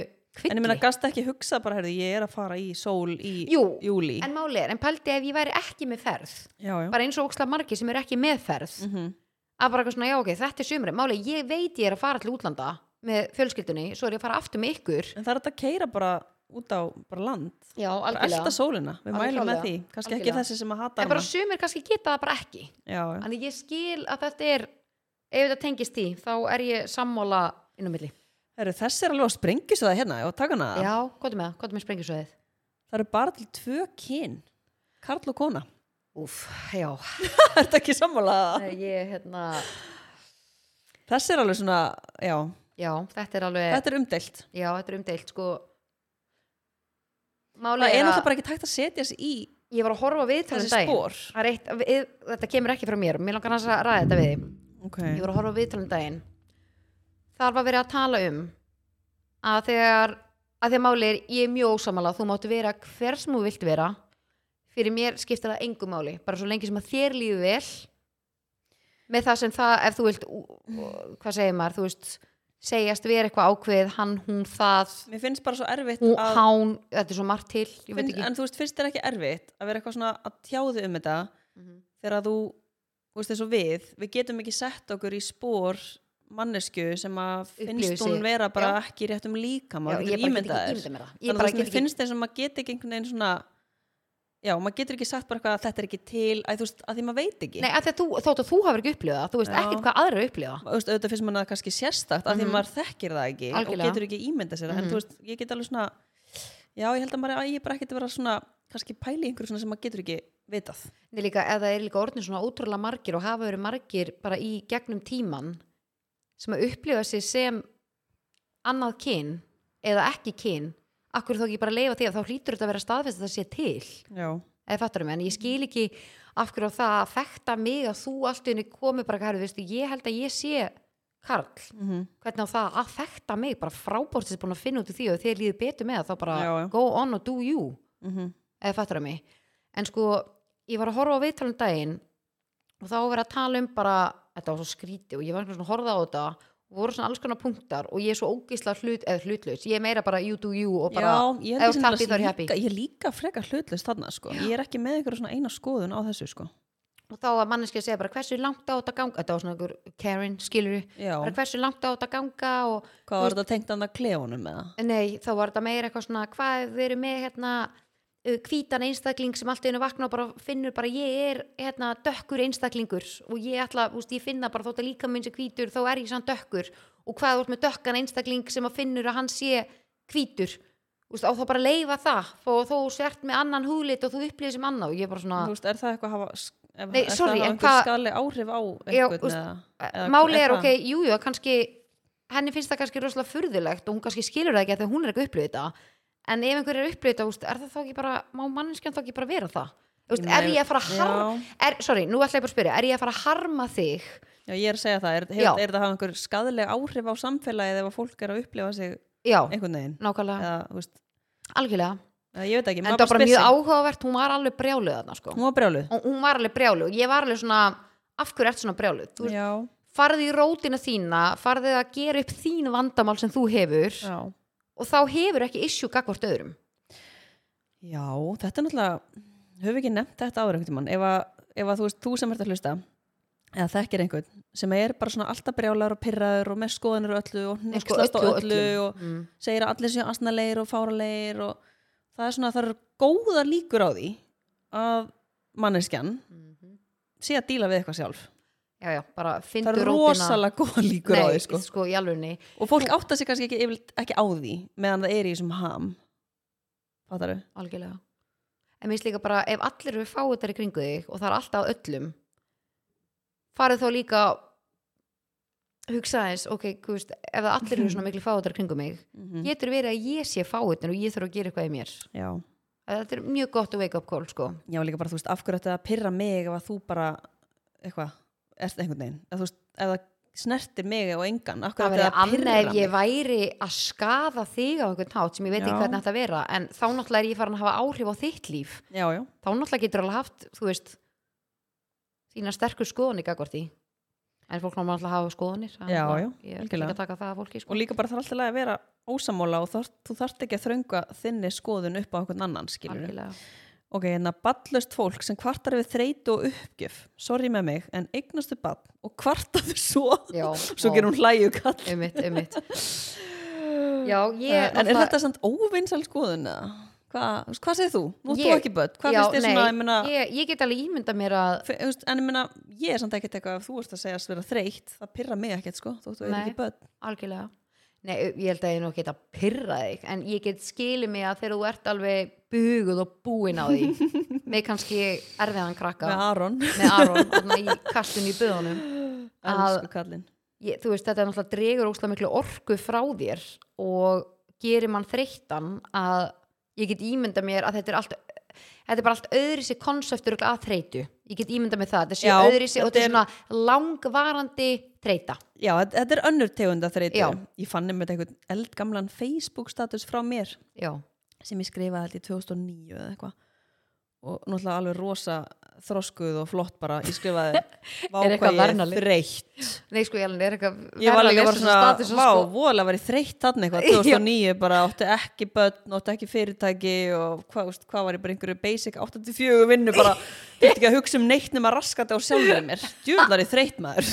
[SPEAKER 1] en
[SPEAKER 2] kvilli,
[SPEAKER 1] ég meina gasta ekki hugsa bara, herðu, ég er að fara í sól í
[SPEAKER 2] Jú,
[SPEAKER 1] júli
[SPEAKER 2] en máli er, en pældi ef ég væri ekki með ferð
[SPEAKER 1] já, já,
[SPEAKER 2] bara eins og ókslega margir sem er ekki með ferð
[SPEAKER 1] mm
[SPEAKER 2] að bara eitthvað svona, já ok, þetta er sumri máli, ég veit ég er að fara til útlanda með fjölskyldunni, svo er ég að fara aftur með ykkur
[SPEAKER 1] en það er þetta að keira bara út á bara land,
[SPEAKER 2] já,
[SPEAKER 1] bara elda sólina við
[SPEAKER 2] Alveg
[SPEAKER 1] mælum með
[SPEAKER 2] klárlega.
[SPEAKER 1] því, kannski ekki
[SPEAKER 2] Algjörlega.
[SPEAKER 1] þessi sem að hata
[SPEAKER 2] en bara
[SPEAKER 1] hana
[SPEAKER 2] sumir kannski geta það bara ekki
[SPEAKER 1] já, já.
[SPEAKER 2] en ég skil að þetta er ef þetta tengist því, þá er ég sammála inn á milli,
[SPEAKER 1] Herru, þessi er alveg að sprengja svo það hérna og taka hana
[SPEAKER 2] já, hvað er með það, hvað er með sprengisöðið
[SPEAKER 1] Það eru bara til tvö kyn Karl og kona
[SPEAKER 2] úf, já,
[SPEAKER 1] Er þetta ekki sammálaða?
[SPEAKER 2] Nei, ég, hérna
[SPEAKER 1] Þessi er alveg svona, já
[SPEAKER 2] já, þetta er alveg,
[SPEAKER 1] Þetta er umdeilt
[SPEAKER 2] já, þetta er umdeilt sko máli
[SPEAKER 1] Það er
[SPEAKER 2] er
[SPEAKER 1] náttúrulega
[SPEAKER 2] að
[SPEAKER 1] bara ekki tækt að setja sig í
[SPEAKER 2] ég var að horfa við til
[SPEAKER 1] þessi spór
[SPEAKER 2] Það er eitt, við, þetta kemur ekki frá mér, mér langar hans að ræða þetta við þig
[SPEAKER 1] Ok
[SPEAKER 2] ég voru að horfa á viðtalum daginn um þar var verið að tala um að þegar að þegar máli er ég er mjög ósamála þú máttu vera hver sem þú vilt vera fyrir mér skiptir það engu máli bara svo lengi sem að þér lífi vel með það sem það ef þú vilt ú- ú- hvað segir maður, þú veist segjast vera eitthvað ákveð, hann, hún, það
[SPEAKER 1] Mér finnst bara svo erfitt
[SPEAKER 2] hún,
[SPEAKER 1] að
[SPEAKER 2] hán, þetta er svo margt til ég veit
[SPEAKER 1] finn,
[SPEAKER 2] ekki
[SPEAKER 1] en þú veist, finnst þér ekki erfitt að vera eitthvað svona að tjáðu um þetta
[SPEAKER 2] Mhm.
[SPEAKER 1] þegar að þú, þú veist, eins og við við getum ekki sett okkur í spór mannesku sem að
[SPEAKER 2] Upplifir
[SPEAKER 1] finnst
[SPEAKER 2] sig.
[SPEAKER 1] hún vera bara
[SPEAKER 2] Já.
[SPEAKER 1] ekki í réttum líka
[SPEAKER 2] Já,
[SPEAKER 1] maður
[SPEAKER 2] ég
[SPEAKER 1] getur
[SPEAKER 2] bara get
[SPEAKER 1] ímyndað
[SPEAKER 2] ekki
[SPEAKER 1] þér
[SPEAKER 2] ímyndað mér það
[SPEAKER 1] þannig að
[SPEAKER 2] ég
[SPEAKER 1] þú
[SPEAKER 2] bara
[SPEAKER 1] veist,
[SPEAKER 2] get
[SPEAKER 1] mér
[SPEAKER 2] ekki
[SPEAKER 1] finnst þess að maður get ekki einhvern veginn svona já, maður getur ekki sagt bara eitthvað að þetta er ekki til að þú veist, að því maður veit ekki
[SPEAKER 2] Nei, af því að þú, þótt að þú hafur ekki upplifað það, þú veist
[SPEAKER 1] Já.
[SPEAKER 2] ekkert hvað aðra upplifa
[SPEAKER 1] Þú veist, auðvitað finnst manna það kannski sérstakt af því
[SPEAKER 2] Mhm.
[SPEAKER 1] maður þekkir það ekki
[SPEAKER 2] Algjörlega.
[SPEAKER 1] og getur ekki ímynda sér það en
[SPEAKER 2] Mhm.
[SPEAKER 1] þú veist, ég get alveg svona já, ég held að maður að ég bara ekkert að vera svona kannski pæli einhverju svona sem maður getur ekki vitað
[SPEAKER 2] Nei, líka, eða er líka orðin svona ótrúlega margir og hafa verið margir bara í gegnum tíman sem að upplifa sig sem annað kyn eða ekki kyn akkur þá ekki bara leifa því að þá hlýtur þetta að vera staðfest að það sé til
[SPEAKER 1] já,
[SPEAKER 2] eða fattur um en ég skil ekki af hverju á það að fekta mig að þú allt í henni komi bara hæru, veistu, ég held að ég sé Karl,
[SPEAKER 1] mm
[SPEAKER 2] hvernig á það að fekta mig bara frábórtis búin að finna út úr því og ef þið líður betur með það þá bara
[SPEAKER 1] Já, já.
[SPEAKER 2] go on og do you
[SPEAKER 1] Mhm.
[SPEAKER 2] eða fattur að mig en sko, ég var að horfa á viðtalum daginn og þá var verið að tala um bara þetta var svo skríti og ég var einhvern svona að horfa á þetta og voru svona alls konar punktar og ég er svo ógisla hlut eða hlutlaus, ég er meira bara you do you og bara,
[SPEAKER 1] já, ég, held ég, sé
[SPEAKER 2] ef þú ert happy, þá er ég
[SPEAKER 1] nefnilega
[SPEAKER 2] happy.
[SPEAKER 1] líka, ég er líka frekar hlutlust þarna sko. ég er ekki með einhverju svona eina skoðun á þessu sko.
[SPEAKER 2] og þá var manneskja að segja bara hversu langt á þetta ganga þetta var svona einhver Karen, skilur
[SPEAKER 1] já,
[SPEAKER 2] bara hversu langt á þetta ganga og
[SPEAKER 1] hvað var þetta tengt annað klefunum með það
[SPEAKER 2] nei, þá var þetta meira eitthvað svona hvað ef við erum með hérna uh, hvítan einstakling sem allt í einu vakna og bara finnur bara ég er hérna dökkur einstaklingur og ég ætla, úst, ég finna bara þótt að líka minn sem hvítur þá er ég samt dökkur og hvað þú ert með dökkan einstakling sem að finnur að hann sé hvítur úst, og þá bara leifa það og þú sért með annan húlit og þú upplýðir sem annað og ég er bara svona
[SPEAKER 1] þú veist, er það eitthvað að hafa ef,
[SPEAKER 2] Ah. Nei,
[SPEAKER 1] er það að
[SPEAKER 2] sorry,
[SPEAKER 1] hafa
[SPEAKER 2] en
[SPEAKER 1] einhver
[SPEAKER 2] hvað-
[SPEAKER 1] skali áhrif á
[SPEAKER 2] Já,
[SPEAKER 1] einhvern
[SPEAKER 2] úst,
[SPEAKER 1] eða- eða-
[SPEAKER 2] máli er
[SPEAKER 1] eða
[SPEAKER 2] ok,
[SPEAKER 1] hvað?
[SPEAKER 2] jújú, jú, kannski henni finnst það kannski rosalega furðulegt og hún kannski skilur það ekki þegar hún er ekki upplöðið þetta en ef einhver er upplöðið þetta, úst, er það þá ekki bara má manneskjan þá ekki bara vera það
[SPEAKER 1] Ég
[SPEAKER 2] úst, er
[SPEAKER 1] meina-
[SPEAKER 2] ég að fara að harma
[SPEAKER 1] Já.
[SPEAKER 2] er, sorry, nú ætla ég bara að spyrja, er ég að fara að harma þig
[SPEAKER 1] Já, ég er að segja það, er,
[SPEAKER 2] Já.
[SPEAKER 1] hefur, er það að hafa einhver skadaleg áhrif á samfélagið ef að fólk er að upplifa sig
[SPEAKER 2] já,
[SPEAKER 1] einhvern veginn
[SPEAKER 2] nákvæmlega,
[SPEAKER 1] eða, þú veist,
[SPEAKER 2] algjörlega en
[SPEAKER 1] eða, ég veit ekki,
[SPEAKER 2] það var bara
[SPEAKER 1] spyr
[SPEAKER 2] mjög
[SPEAKER 1] sig.
[SPEAKER 2] áhugavert, hún var alveg brjáluð þarna sko,
[SPEAKER 1] hún var brjáluð
[SPEAKER 2] og hún var alveg brjáluð og ég var alveg svona, af hverju ert svona brjáluð Þú veist,
[SPEAKER 1] já,
[SPEAKER 2] farðu í rótina þína, farðu að gera upp þín vandamál sem þú hefur
[SPEAKER 1] já.
[SPEAKER 2] og þá hefur ekki issue gagvart öðrum
[SPEAKER 1] já, þetta er náttúrulega höfum við ekki nefnt þetta áður einhvern tímann ef að, ef að þú veist, þú sem ert að hlusta eða þekkir einhvern sem er bara svona alltaf brjálar og pirraður og með skoðanir og öllu og
[SPEAKER 2] Nei, sko,
[SPEAKER 1] nexlast á
[SPEAKER 2] öllu,
[SPEAKER 1] öllu
[SPEAKER 2] öllu.
[SPEAKER 1] og segir að allir séu asnalegir og fáralegir og það er svona, það eru góða líkur á því að manneskjan
[SPEAKER 2] Mhm.
[SPEAKER 1] sé að díla við eitthvað sjálf
[SPEAKER 2] já, já, bara
[SPEAKER 1] það
[SPEAKER 2] fyndu
[SPEAKER 1] eru
[SPEAKER 2] rótina
[SPEAKER 1] rosalega góða líkur á því sko.
[SPEAKER 2] nei, sko, í alvegni
[SPEAKER 1] og fólk átta sig kannski ekki, yfirleitt ekki á því meðan það er í þessum ham fattar þau?
[SPEAKER 2] algjörlega en minnst líka bara, ef allir eru fáið þar í kringu þig og það er alltaf öllum farið þá líka hugsa eins, ok, þú veist ef það allir eru svona miklu fáið þar í kringu mig
[SPEAKER 1] Mhm.
[SPEAKER 2] getur verið að ég sé fáið og ég þurf að gera eitthvað í mér
[SPEAKER 1] já,
[SPEAKER 2] þetta er mjög gott að wake up call, sko
[SPEAKER 1] já líka bara þú veist af hverju þetta að pyrra mig ef að þú bara eitthvað, ert einhvern veginn eða þú veist, ef það snertir mig og engan, af
[SPEAKER 2] það
[SPEAKER 1] hverju
[SPEAKER 2] verið
[SPEAKER 1] þetta að
[SPEAKER 2] annað
[SPEAKER 1] pyrra
[SPEAKER 2] ef
[SPEAKER 1] mig
[SPEAKER 2] ég væri að skaða þig á einhvern hát sem ég veit ekki
[SPEAKER 1] Já.
[SPEAKER 2] hvernig þetta vera en þá náttúrulega er ég farin að hafa áhrif á þitt líf
[SPEAKER 1] já, já,
[SPEAKER 2] þá náttúrulega getur alveg haft, þú veist þína sterkur skoðunni gagvart því en fólk náttúrulega náttúrulega hafa skoðunir það er
[SPEAKER 1] Já,
[SPEAKER 2] náttúrulega-
[SPEAKER 1] já,
[SPEAKER 2] ég er ekki
[SPEAKER 1] algjörlega.
[SPEAKER 2] að taka það af fólki
[SPEAKER 1] og
[SPEAKER 2] sko.
[SPEAKER 1] líka bara það er alltaf að vera ósamóla og þar, þú þarft ekki að þrönga þinni skoðun upp á einhvern annan skilur
[SPEAKER 2] Algjörlega.
[SPEAKER 1] Ok, en að ballust fólk sem kvartar yfir þreytu og uppgjöf, sorry með mig, en eignastu ball og kvartaðu svo,
[SPEAKER 2] Já,
[SPEAKER 1] svo
[SPEAKER 2] vá.
[SPEAKER 1] gerum hlæju kall.
[SPEAKER 2] einmitt, einmitt já, ég
[SPEAKER 1] Yeah, en er
[SPEAKER 2] náttúrulega-
[SPEAKER 1] þetta samt óvinnsal skoðun eða? Hvað hva segir þú? Nú ert þú
[SPEAKER 2] Ég-
[SPEAKER 1] ekki börn, hvað
[SPEAKER 2] já,
[SPEAKER 1] finnst þér svona,
[SPEAKER 2] nei,
[SPEAKER 1] ég meina,
[SPEAKER 2] ég, ég get alveg ímynda mér að
[SPEAKER 1] fe- þú veist, en ég meina, ég er samt ekkert eitthvað ef þú ert að segja að vera þreytt, það pyrra mig ekkert sko, þú ert
[SPEAKER 2] Nei.
[SPEAKER 1] ekki börn.
[SPEAKER 2] algjörlega Nei, ég held að ég nú geta pyrrað þig en ég get skilið mig að þegar þú ert alveg buguð og búin á því með kannski erfiðan krakka
[SPEAKER 1] Með Aron,
[SPEAKER 2] með Aron þarna í kastun í buðunum að
[SPEAKER 1] elsku kallinn.
[SPEAKER 2] ég, þú veist þetta er náttúrulega dregur óslega miklu orku frá þér og gerir mann þreyttan að ég get ímynda mér að þetta er allt þetta er bara allt öðrisi konseptur að þreytu, ég get ímyndað með það þetta sé
[SPEAKER 1] Já,
[SPEAKER 2] öðrisi og
[SPEAKER 1] þetta
[SPEAKER 2] þetta er svona langvarandi þreyta
[SPEAKER 1] Já, þetta- þetta er önnur tegund af þreytu.
[SPEAKER 2] Já.
[SPEAKER 1] Ég fann nefnir eitthvað eldgamlan Facebook status frá mér
[SPEAKER 2] já,
[SPEAKER 1] sem ég skrifaði held í 2009 eða eitthvað og náttúrulega alveg rosa þroskuð og flott bara, ég skrifaði vá
[SPEAKER 2] Er eitthvað
[SPEAKER 1] hvað ég
[SPEAKER 2] varnarlið?
[SPEAKER 1] þreytt
[SPEAKER 2] nei sko ég alveg er eitthvað
[SPEAKER 1] ég var
[SPEAKER 2] verra að
[SPEAKER 1] líka
[SPEAKER 2] lesa
[SPEAKER 1] bara
[SPEAKER 2] svona
[SPEAKER 1] svona,
[SPEAKER 2] status og
[SPEAKER 1] vá,
[SPEAKER 2] sko-
[SPEAKER 1] voðalega verið þreytt þarna eitthvað, 2009 bara átti ekki börn, átti ekki fyrirtæki og hvað veist, hvað var ég bara einhverju basic 84 vinnu bara, þetta ekki að hugsa um neitt nema raskandi á sjálfur mér djúðlar ég þreytt maður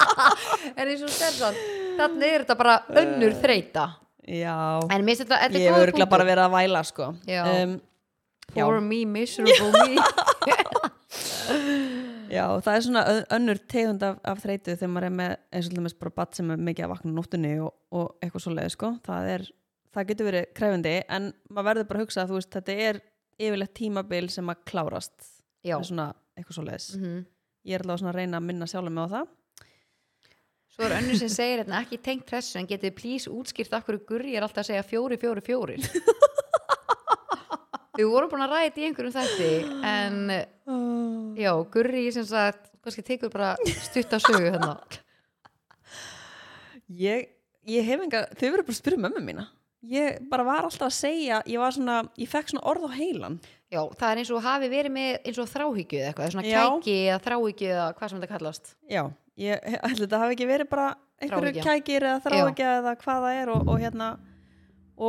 [SPEAKER 2] en eins og stærðan, þannig er þetta bara önnur þreita
[SPEAKER 1] já,
[SPEAKER 2] en mér finnst þetta, þetta
[SPEAKER 1] Eh. ég hef
[SPEAKER 2] er góður
[SPEAKER 1] örgulega
[SPEAKER 2] punktur
[SPEAKER 1] bara verið að væla sko
[SPEAKER 2] Já.
[SPEAKER 1] um, já.
[SPEAKER 2] for me, miserable me
[SPEAKER 1] já, það er svona ö- önnur tegund af, af þreytu þegar maður er með eins og til dæmis bara bat sem er mikið að vakna á nóttunni og, og eitthvað svoleiði sko, það er það getur verið krefindi en maður verður bara að hugsa að þú veist, þetta er yfirlegt tímabil sem að klárast
[SPEAKER 2] já,
[SPEAKER 1] Það er svona eitthvað svoleiðis
[SPEAKER 2] mhm
[SPEAKER 1] ég er alveg svona að reyna að minna sjálfum mig á það
[SPEAKER 2] Svo er önnur sem segir hérna ekki tengt þessu en getið plís útskýrt af hverju gurri er alltaf að segja fjóri, fjóri, fjóri Við vorum búin að ræða þetta í einhverjum þætti en já, gurri sem sagt, kannski tekur bara stutt á sögu hérna
[SPEAKER 1] ég, ég hef enga, þau verður bara að spyrja mömmu mína ég bara var alltaf að segja ég var svona, ég fekk svona orð á heilan
[SPEAKER 2] Já, það er eins og hafi verið með eins og þráhyggju eða eitthvað, svona
[SPEAKER 1] Já.
[SPEAKER 2] kæki eða þráhyggju eða hvað sem þetta kallast
[SPEAKER 1] já, ég ætla þetta hafi ekki verið bara einhverju
[SPEAKER 2] Þráhyggja.
[SPEAKER 1] kækir eða þráhyggja eða hvað það er og, og hérna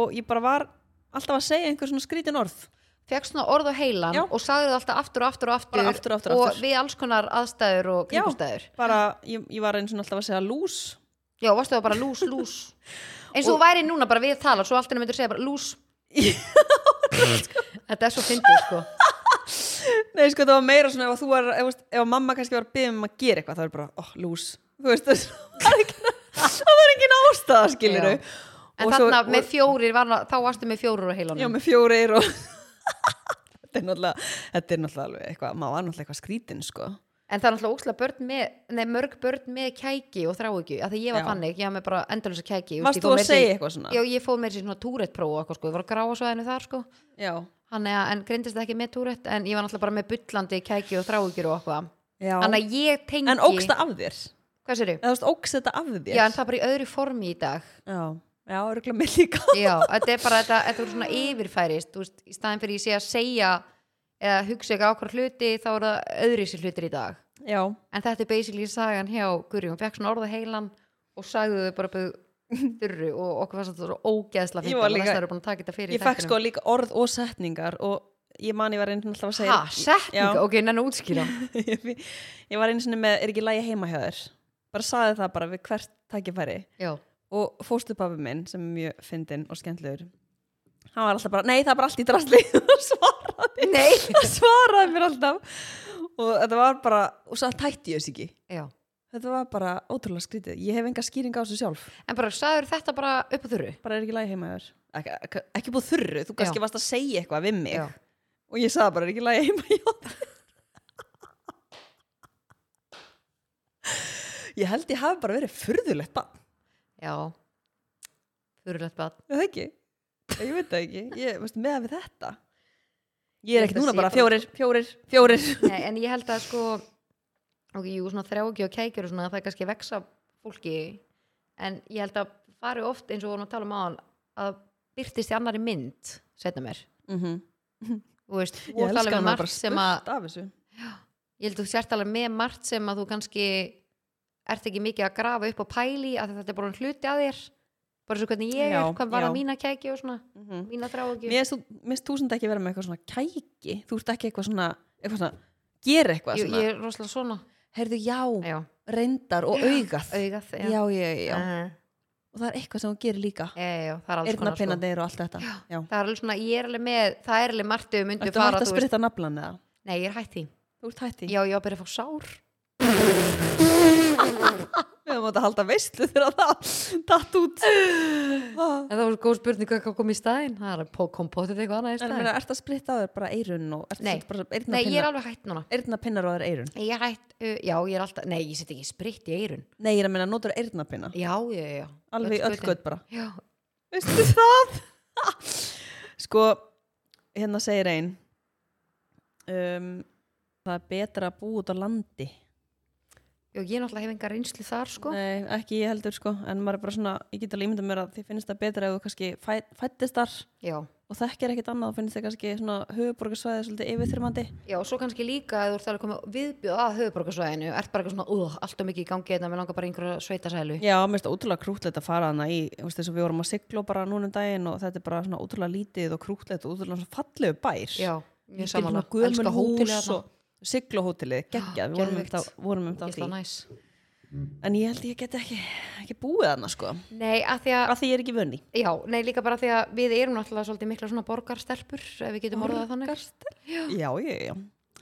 [SPEAKER 1] og ég bara var alltaf að segja einhver svona skrítin orð
[SPEAKER 2] Fekst svona orð á heilan
[SPEAKER 1] Já.
[SPEAKER 2] og sagði það alltaf aftur og aftur og aftur,
[SPEAKER 1] Bara aftur og aftur og aftur.
[SPEAKER 2] og við alls konar aðstæður og
[SPEAKER 1] Já.
[SPEAKER 2] kringustæður
[SPEAKER 1] bara, ég, ég var eins og alltaf að segja lús
[SPEAKER 2] Já, varstu það bara lús, lús eins og þú væri núna bara við tala svo allt henni myndir segja bara lús Þetta er svo fyndið sko
[SPEAKER 1] nei sko það var meira svona ef, þú var, ef, veist, ef mamma kannski var að byggja um að gera eitthvað þá er bara, oh, lús þú veist, það var engin- það var engin ástæða skilur
[SPEAKER 2] Já. En þarna með fjórir, var, þá varstu með fjórir á heilanum
[SPEAKER 1] Já, með fjórir og þetta er náttúrulega þetta er náttúrulega alveg eitthvað, maður var náttúrulega eitthvað skrítin sko.
[SPEAKER 2] En það er náttúrulega ókslega börn með nei, mörg börn með kæki og þráhyggju að því ég var
[SPEAKER 1] Já.
[SPEAKER 2] þannig, ég var með bara endalösa kæki
[SPEAKER 1] Varst þú að segja eitthvað svona?
[SPEAKER 2] Já, ég fóð með þessi svona túrætt próf og eitthvað sko, ég var að gráa svo henni þar sko
[SPEAKER 1] Já,
[SPEAKER 2] Þannig að, en greindist það ekki með túrætt en ég var náttúrulega bara með bullandi kæki og þráhyggjur og eitthvað
[SPEAKER 1] já.
[SPEAKER 2] Þannig að ég tengi
[SPEAKER 1] en ógst það af þér
[SPEAKER 2] Hvað sérðu?
[SPEAKER 1] eða þú veist, ógst þetta af þér
[SPEAKER 2] Já, en það er bara í öðru formi í dag
[SPEAKER 1] já, já örugglega mér líka
[SPEAKER 2] Já, þetta er bara, þetta, þetta er svona yfirfærist þú veist, í staðin fyrir ég sé að segja eða hugsa ekki á hver hluti þá er það öðri sér hlutir í dag
[SPEAKER 1] Já,
[SPEAKER 2] en þetta er basically sagan hjá Guri hún fekk svona orða heilan og sagði þau bara bauð þurru og okkur fannst þetta svo ógeðsla
[SPEAKER 1] Ég
[SPEAKER 2] fyrir
[SPEAKER 1] var
[SPEAKER 2] það,
[SPEAKER 1] líka-
[SPEAKER 2] þess að eru búin að taka þetta fyrir
[SPEAKER 1] ég fekk sko líka orð og setningar og ég man ég var einn alltaf sko að segja
[SPEAKER 2] ha, setninga,
[SPEAKER 1] Já.
[SPEAKER 2] ok, nennu útskýra
[SPEAKER 1] ég, ég var einn sinni með, er ekki lægi heima hjá þér bara saði það bara við hvert tækifæri
[SPEAKER 2] já,
[SPEAKER 1] og fóstupappi minn sem er mjög fyndinn og skemmtlegur hann var alltaf bara, nei það er bara allt í drasli og svaraði
[SPEAKER 2] Nei.
[SPEAKER 1] Hann svaraði mér alltaf og þetta var bara, og svo tætti ég þess ekki
[SPEAKER 2] já
[SPEAKER 1] þetta var bara ótrúlega skrítið ég hef enga skýring á þessu sjálf
[SPEAKER 2] en bara sagður þetta bara upp á þurru
[SPEAKER 1] bara er ekki lægi heima hjá þér ekki, ekki, ekki búið þurru, þú kannski
[SPEAKER 2] Já.
[SPEAKER 1] varst að segja eitthvað við mig
[SPEAKER 2] Já.
[SPEAKER 1] og ég sagði bara er ekki lægi heima hjá þér ég held ég hafi bara verið furðulegt bara
[SPEAKER 2] já, þurrulegt bad
[SPEAKER 1] Er það ekki? Ég veit það ekki, ég veist með við þetta Ég er
[SPEAKER 2] Ég
[SPEAKER 1] ekki
[SPEAKER 2] held að
[SPEAKER 1] núna
[SPEAKER 2] sé
[SPEAKER 1] bara
[SPEAKER 2] bara-
[SPEAKER 1] fjórir, fjórir, fjórir
[SPEAKER 2] Nei, en ég held að sko ok, jú, svona þrjáki og kækjur og svona það er kannski vexa fólki en ég held að fari oft eins og vorum að tala um áðan að byrtist í annari mynd setna mér
[SPEAKER 1] mm -hmm.
[SPEAKER 2] þú veist, þú ert alveg með margt sem að
[SPEAKER 1] af þessu
[SPEAKER 2] ég held að þú sért alveg með margt sem að þú kannski ert ekki mikið að grafa upp og pæli að þetta er bara hluti að þér bara svo hvernig ég
[SPEAKER 1] Já,
[SPEAKER 2] er, hvað var
[SPEAKER 1] já.
[SPEAKER 2] að mína kækju og svona
[SPEAKER 1] Mhm.
[SPEAKER 2] mína þrjáki
[SPEAKER 1] Mér finnst þú sem ekki vera með eitthvað svona kæki Þú ert ekki eitthvað svona, eitthvað svona gera eitthvað
[SPEAKER 2] ég,
[SPEAKER 1] svona
[SPEAKER 2] ég er rosalega svona
[SPEAKER 1] Heyrðu já,
[SPEAKER 2] já,
[SPEAKER 1] reyndar og augað
[SPEAKER 2] augað
[SPEAKER 1] Já, já, já, já.
[SPEAKER 2] Mhm.
[SPEAKER 1] Og það er eitthvað sem þú gerir líka
[SPEAKER 2] Já, já, já, það er alls konar sko.
[SPEAKER 1] Eirnapinnandeir og allt þetta Já
[SPEAKER 2] það er alveg svona, ég er alveg með það er alveg margt ef við myndum
[SPEAKER 1] Ertu hægt
[SPEAKER 2] fara
[SPEAKER 1] að
[SPEAKER 2] þú veist,
[SPEAKER 1] spritta naflan eða?
[SPEAKER 2] nei, ég er hætt því,
[SPEAKER 1] Þú ert hætti
[SPEAKER 2] já, ég var bara að fá sár
[SPEAKER 1] Við höfum átt að halda veistlu þegar það datt út Ah.
[SPEAKER 2] en það var svo góð spurning hvað kom í staðin það er að kom potið eitthvað annað í
[SPEAKER 1] En
[SPEAKER 2] staðin
[SPEAKER 1] meina, ert að spritta á þér bara eirun og ert
[SPEAKER 2] Nei.
[SPEAKER 1] að setja bara
[SPEAKER 2] nei, ég er
[SPEAKER 1] eirnapinnar-
[SPEAKER 2] alveg hætt núna
[SPEAKER 1] eirnapinnar á þér eirun?
[SPEAKER 2] ég er hætt, uh, já, ég er alltaf nei, ég set ekki spritt í eirun
[SPEAKER 1] Nei, ég er að minna, notur eirnapinna
[SPEAKER 2] já, já, já, já,
[SPEAKER 1] alveg í öll
[SPEAKER 2] götin.
[SPEAKER 1] gött bara.
[SPEAKER 2] já,
[SPEAKER 1] Veistu það? sko, hérna segir ein um, það er betra að búa út á landi
[SPEAKER 2] Jú, ég náttúrulega hef enga reynslu þar sko
[SPEAKER 1] Nei, ekki ég heldur sko en maður er bara svona, ég get alveg ímyndað mér að þið finnst það betra ef þú kannski fæ, fættist þar
[SPEAKER 2] já.
[SPEAKER 1] og þekkir ekkert annað og finnst þið kannski svona höfuborgarsvæði svolítið yfirþyrmandi
[SPEAKER 2] já, og svo kannski líka að þú ert alveg komið viðbjóð að höfuborgarsvæðinu ert bara eitthvað svona, uh, allt og mikið í gangi þetta með langar bara í einhverja sveitasælu
[SPEAKER 1] Já, mér finnst það ótrúlega krútlegt að fara hana í þú veist, þess að við vorum að sigla bara núna um daginn og þetta er bara svona ótrúlega lítið og krútlegt og ótrúlega svona fallegu bær
[SPEAKER 2] Já, mjög
[SPEAKER 1] Lítil svona
[SPEAKER 2] samanlega, elska
[SPEAKER 1] gömul
[SPEAKER 2] hótelið
[SPEAKER 1] hús
[SPEAKER 2] hérna. þarna. Ah,
[SPEAKER 1] og siglahótelið, geggjað, við vorum um
[SPEAKER 2] geðveikt.
[SPEAKER 1] þetta vorum um þetta á
[SPEAKER 2] Ógeðslega
[SPEAKER 1] því,
[SPEAKER 2] næs.
[SPEAKER 1] en ég held ég get ekki, ekki búið hana sko,
[SPEAKER 2] Nei, að því að
[SPEAKER 1] af því ég er ekki vönni
[SPEAKER 2] Já, nei líka bara því að við erum náttúrulega svolítið mikla svona borgarstelpur ef við getum orðað það þannig
[SPEAKER 1] Já, já, já,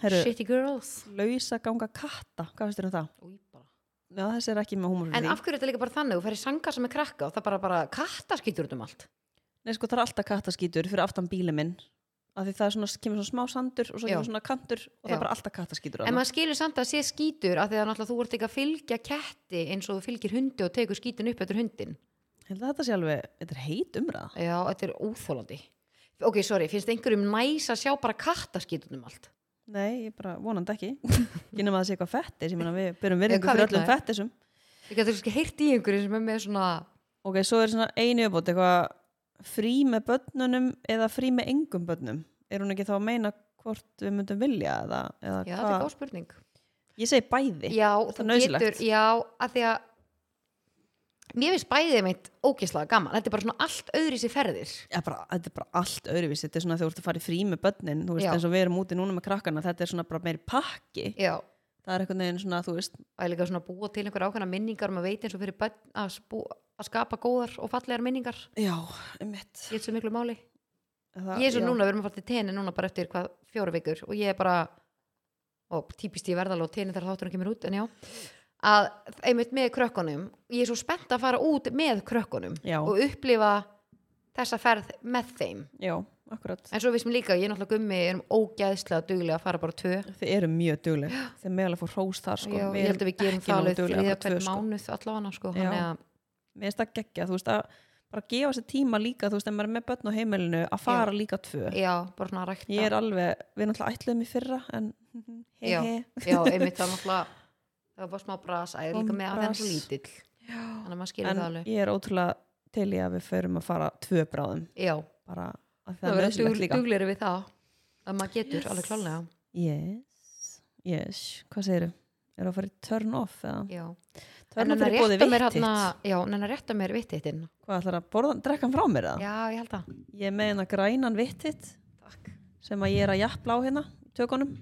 [SPEAKER 1] herru,
[SPEAKER 2] Shitty girls
[SPEAKER 1] lausa ganga katta hvað finnst þér um það? Já, þessi er ekki með
[SPEAKER 2] En
[SPEAKER 1] humorfri
[SPEAKER 2] af hverju er þetta líka bara þannig, þú ferir sanga sem er krakka og það bara, bara katta skýtur út um allt
[SPEAKER 1] Nei, sko, það er alltaf kattaskítur fyrir aftan bíli minn af því það er svona, kemur svona smá sandur og svo
[SPEAKER 2] Já.
[SPEAKER 1] kemur svona kantur og það
[SPEAKER 2] Já.
[SPEAKER 1] er bara alltaf kattaskítur
[SPEAKER 2] En maður skilur samt að það sé skítur af því að náttúrulega þú ert ekki að fylgja ketti eins og þú fylgir hundi og tegur skítin upp eftir hundin
[SPEAKER 1] Held að þetta sé alveg, þetta er heit umræða.
[SPEAKER 2] Já, þetta er óþólandi Ok, sorry, finnst einhverjum næs að sjá bara katta skýtur út um allt
[SPEAKER 1] Nei, ég bara vonandi ekki. Ekki nema að það sé eitthvað fettis, ég meina við byrjum virðingu
[SPEAKER 2] hvað
[SPEAKER 1] fyrir
[SPEAKER 2] vill
[SPEAKER 1] öllum
[SPEAKER 2] maður?
[SPEAKER 1] fettisum.
[SPEAKER 2] Ég gæti kannski heyrt í einhverju sem er með svona
[SPEAKER 1] Ok, svo er svona einu uppbót, eitthvað frí með börnunum eða frí með engum börnum. Er hún ekki þá að meina hvort við myndum vilja eða, eða
[SPEAKER 2] Já, þetta er
[SPEAKER 1] hvað?
[SPEAKER 2] góð spurning
[SPEAKER 1] Ég segi bæði.
[SPEAKER 2] Já,
[SPEAKER 1] Þetta
[SPEAKER 2] þú
[SPEAKER 1] er nauðsynlegt.
[SPEAKER 2] getur, já, að því að mér finnst bæðið mitt ógislega gaman, þetta er bara svona allt öðri sér ferðir
[SPEAKER 1] Ég bara, þetta er bara allt öðruvísi, þetta er svona þegar þú ert að fara í frí með börnin, þú veist
[SPEAKER 2] Já.
[SPEAKER 1] eins og við erum úti núna með krakkana, þetta er svona bara meiri pakki,
[SPEAKER 2] Já,
[SPEAKER 1] það er einhvern veginn svona, þú veist,
[SPEAKER 2] það er líka svona að búa til einhver ákveðna minningar og maður veit eins og fyrir börn að, spú, að skapa góðar og fallegar minningar
[SPEAKER 1] já, um mitt.
[SPEAKER 2] ég svo miklu máli
[SPEAKER 1] Ah,
[SPEAKER 2] Ég er svo núna, við erum að fara til teni núna bara eftir hvað fjóra vikur og ég er bara og típist ég verðal og teni þar þátturinn kemur út en já að einmitt með krökkunum ég er svo spennt að fara út með krökkunum
[SPEAKER 1] Já.
[SPEAKER 2] og upplifa þessa ferð með þeim
[SPEAKER 1] Já, akkurat.
[SPEAKER 2] En svo vissum líka, ég er náttúrulega gummi, erum ógæðslega duglega að fara bara tvö.
[SPEAKER 1] Þið eru mjög dugleg. Þið með alveg fór hrós þar sko.
[SPEAKER 2] Já,
[SPEAKER 1] Við
[SPEAKER 2] ég held að
[SPEAKER 1] erum
[SPEAKER 2] við gerum
[SPEAKER 1] ekki
[SPEAKER 2] það
[SPEAKER 1] nógu
[SPEAKER 2] alveg
[SPEAKER 1] dugleg að
[SPEAKER 2] þriðja
[SPEAKER 1] fara
[SPEAKER 2] hvern
[SPEAKER 1] tvö, sko.
[SPEAKER 2] mánuð allavega, sko.
[SPEAKER 1] Já.
[SPEAKER 2] Þannig að,
[SPEAKER 1] Mér finnst það geggja, þú veist að bara gefa sér tíma líka, þú veist, en maður er með börn á heimilinu að fara líka tvö.
[SPEAKER 2] já, bara svona að rækta.
[SPEAKER 1] Ég er alveg, við náttúrulega ætluðum í fyrra en hei
[SPEAKER 2] Já.
[SPEAKER 1] hei.
[SPEAKER 2] Já, einmitt það náttúrulega, það var bara smá bras, að ég er líka með að það er
[SPEAKER 1] Bras.
[SPEAKER 2] svo lítill. Þannig að maður skilur
[SPEAKER 1] En
[SPEAKER 2] það alveg.
[SPEAKER 1] ég er ótrúlega til í að við förum að fara tvö bráðum,
[SPEAKER 2] Já,
[SPEAKER 1] bara að það
[SPEAKER 2] það
[SPEAKER 1] er
[SPEAKER 2] verður
[SPEAKER 1] nöðsilegt
[SPEAKER 2] dug,
[SPEAKER 1] líka.
[SPEAKER 2] duglegri við það, að maður getur alveg klálega.
[SPEAKER 1] Yes, yes, hvað segirðu? Er það að fara í turn off eða?
[SPEAKER 2] Já.
[SPEAKER 1] Turn
[SPEAKER 2] en
[SPEAKER 1] off
[SPEAKER 2] að
[SPEAKER 1] er bóði
[SPEAKER 2] rétta mér
[SPEAKER 1] vittitt.
[SPEAKER 2] hérna, já, en að rétta mér vittittinn.
[SPEAKER 1] Hvað ætlar að borða, drekka hann frá mér eða?
[SPEAKER 2] Já, ég held það.
[SPEAKER 1] Ég er með hérna grænan vittitt
[SPEAKER 2] Takk.
[SPEAKER 1] sem að ég er að jafnla á hérna í tökunum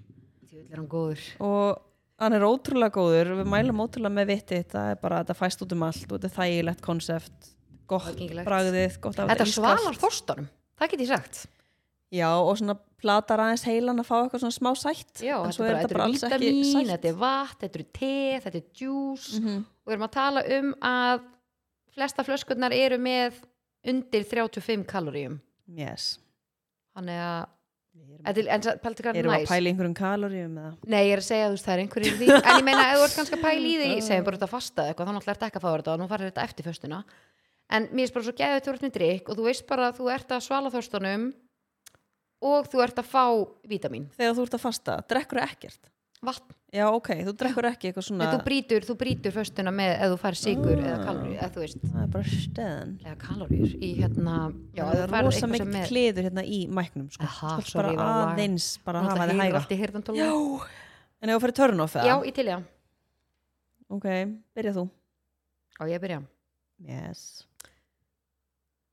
[SPEAKER 2] Þjóðlega er hann góður.
[SPEAKER 1] og hann er ótrúlega góður við mælum ótrúlega með viti það er bara að þetta fæst út um allt og þetta er þægilegt konsept gott
[SPEAKER 2] Aðgengilegt.
[SPEAKER 1] bragðið gott að
[SPEAKER 2] Þetta
[SPEAKER 1] ískalt.
[SPEAKER 2] svalar þorstanum, það get ég sagt.
[SPEAKER 1] já og svona platar aðeins heilan að fá eitthvað svona smá sætt
[SPEAKER 2] Já,
[SPEAKER 1] en
[SPEAKER 2] þetta
[SPEAKER 1] svo
[SPEAKER 2] er
[SPEAKER 1] er
[SPEAKER 2] bara,
[SPEAKER 1] þetta bara alls
[SPEAKER 2] þetta er
[SPEAKER 1] ekki
[SPEAKER 2] vítamin,
[SPEAKER 1] sætt Mhm.
[SPEAKER 2] þetta er vatn, þetta er te, þetta er djús og við erum að tala um að flesta flöskurnar eru með undir 35 kaloríum.
[SPEAKER 1] yes
[SPEAKER 2] Þannig að,
[SPEAKER 1] erum,
[SPEAKER 2] þetta er- en það pælti hvað er
[SPEAKER 1] erum við að
[SPEAKER 2] næs.
[SPEAKER 1] pæla í einhverjum kaloríum eða
[SPEAKER 2] Nei, ég er að segja þú veist það er einhverjir í því, en ég meina ef þú ert kannski að pæla í
[SPEAKER 1] Ah.
[SPEAKER 2] því, segjum bara þetta fasta eða eitthvað, þá náttúrulega ert ekki að fá þetta og nú farir þetta eftir föstuna. En mér er bara svo geðið þú ert með drikk og þú veist bara að þú ert að svala þorstunum og þú ert að fá vítamin,
[SPEAKER 1] þegar þú ert að fasta drekkur ekkert
[SPEAKER 2] vatn.
[SPEAKER 1] já ok þú drekkur ekki eitthvað
[SPEAKER 2] Nei,
[SPEAKER 1] svona Ah.
[SPEAKER 2] þú brýtur, þú brýtur föstuna með ef þú fær sigur eða kaloríu, eða þú veist,
[SPEAKER 1] það er bara stöðan
[SPEAKER 2] eða kaloríur í hérna já,
[SPEAKER 1] það
[SPEAKER 2] þú
[SPEAKER 1] er
[SPEAKER 2] færð
[SPEAKER 1] rosa
[SPEAKER 2] eitthvað sem
[SPEAKER 1] mikið
[SPEAKER 2] með-
[SPEAKER 1] kliður hérna í mæknum sko.
[SPEAKER 2] Aha,
[SPEAKER 1] Þú ert
[SPEAKER 2] sorry,
[SPEAKER 1] bara
[SPEAKER 2] ég var að laga.
[SPEAKER 1] aðeins bara
[SPEAKER 2] Náttúrulega
[SPEAKER 1] hafa þið
[SPEAKER 2] heyrir
[SPEAKER 1] hæga
[SPEAKER 2] allt í heyrnartólum. já,
[SPEAKER 1] en ef þú fyrir törn off eða?
[SPEAKER 2] í til já
[SPEAKER 1] Ok, byrja þú.
[SPEAKER 2] og ég að byrja,
[SPEAKER 1] Yes.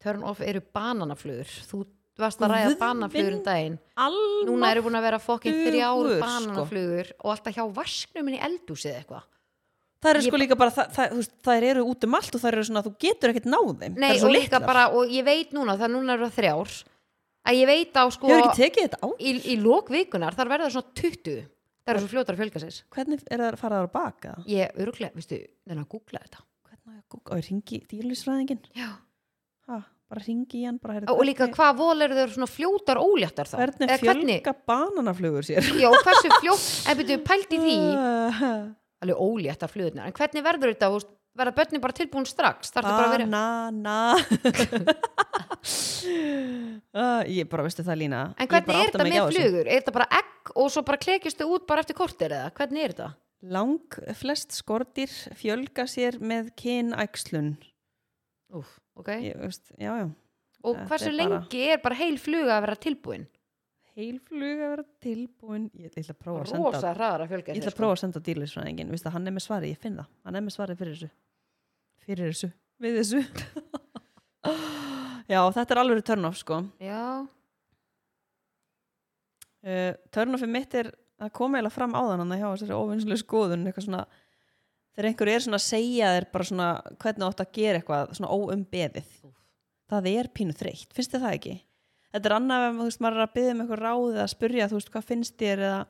[SPEAKER 2] turn off eru bananaflugur þú varst að ræða
[SPEAKER 1] Guðvin.
[SPEAKER 2] bananaflugur um daginn
[SPEAKER 1] Alma.
[SPEAKER 2] núna eru búin að vera fokkin þrjár
[SPEAKER 1] Dugur, sko.
[SPEAKER 2] bananaflugur og alltaf hjá vasknum minni eldúsið eitthvað
[SPEAKER 1] Það eru
[SPEAKER 2] Ég
[SPEAKER 1] sko líka bara, það, það, þú veist, þær eru út um allt og þær eru svona að þú getur ekkert náð þeim. Þær
[SPEAKER 2] Nei,
[SPEAKER 1] eru
[SPEAKER 2] og
[SPEAKER 1] svo
[SPEAKER 2] líka
[SPEAKER 1] litlar.
[SPEAKER 2] bara, og ég veit núna það núna eru það þrjár að ég veit á sko
[SPEAKER 1] Ég hefur ekki tekið þetta á.
[SPEAKER 2] í, í lókvikunar þar verða það svona 20 það eru svo fljótar að fjölga sér
[SPEAKER 1] Hvernig er það að fara þar á baka?
[SPEAKER 2] ég öruglega, veistu, þannig að googla þetta
[SPEAKER 1] Hvernig á ég að gúka? Og ég ringi dýrlýsfræðingin.
[SPEAKER 2] já
[SPEAKER 1] Ha, bara ringi í hann, bara heyrðu.
[SPEAKER 2] og líka hvað vol eru þau svona fljótar óléttar þá
[SPEAKER 1] Hvernig
[SPEAKER 2] Eða
[SPEAKER 1] fjölga bananaflugur sér?
[SPEAKER 2] já, og hversu fljótt, en byrju pælt í því
[SPEAKER 1] Ah. Bananaflugur.
[SPEAKER 2] alveg óléttar fljóðnar, en hvernig verður
[SPEAKER 1] Ah,
[SPEAKER 2] þetta þú veist, verða börnin bara tilbúin strax þarf þetta bara að vera
[SPEAKER 1] Banana. Uh, ég bara veistu það lína
[SPEAKER 2] En
[SPEAKER 1] Ég
[SPEAKER 2] hvernig
[SPEAKER 1] bara
[SPEAKER 2] er
[SPEAKER 1] átta
[SPEAKER 2] þetta
[SPEAKER 1] mig ekki á
[SPEAKER 2] með
[SPEAKER 1] þessu.
[SPEAKER 2] flugur? Er þetta bara egg og svo bara klekjustu út bara eftir kortir eða? Hvernig er þetta?
[SPEAKER 1] Lang flest skortir fjölga sér með kynæxlun
[SPEAKER 2] Úf, ok.
[SPEAKER 1] Ég veist, já, já
[SPEAKER 2] og
[SPEAKER 1] þetta
[SPEAKER 2] hversu
[SPEAKER 1] er bara-
[SPEAKER 2] lengi er bara heil fluga að vera tilbúin?
[SPEAKER 1] Heilflug að vera tilbúin Ég ég ætla að prófa að senda
[SPEAKER 2] Rosa hraðar að fjölga sko.
[SPEAKER 1] Ég ætla að prófa að senda dýrlisfræðingin Vistu, hann er með svarið, ég finn það Hann er með svarið fyrir þessu Fyrir þessu, við þessu Já, þetta er alveg törnof sko
[SPEAKER 2] Já,
[SPEAKER 1] uh, törnofið mitt er að koma eiginlega fram áðan hann að hjá þessari óvinnslu skoðun eitthvað svona þegar einhver er svona að segja þér bara svona hvernig átt að gera eitthvað svona óumbeðið það er pínu þreytt, finnst þið það ekki? Þetta er annað ef þú veist, maður er að byggja um eitthvað ráð eða að spyrja þú veist hvað finnst þér eða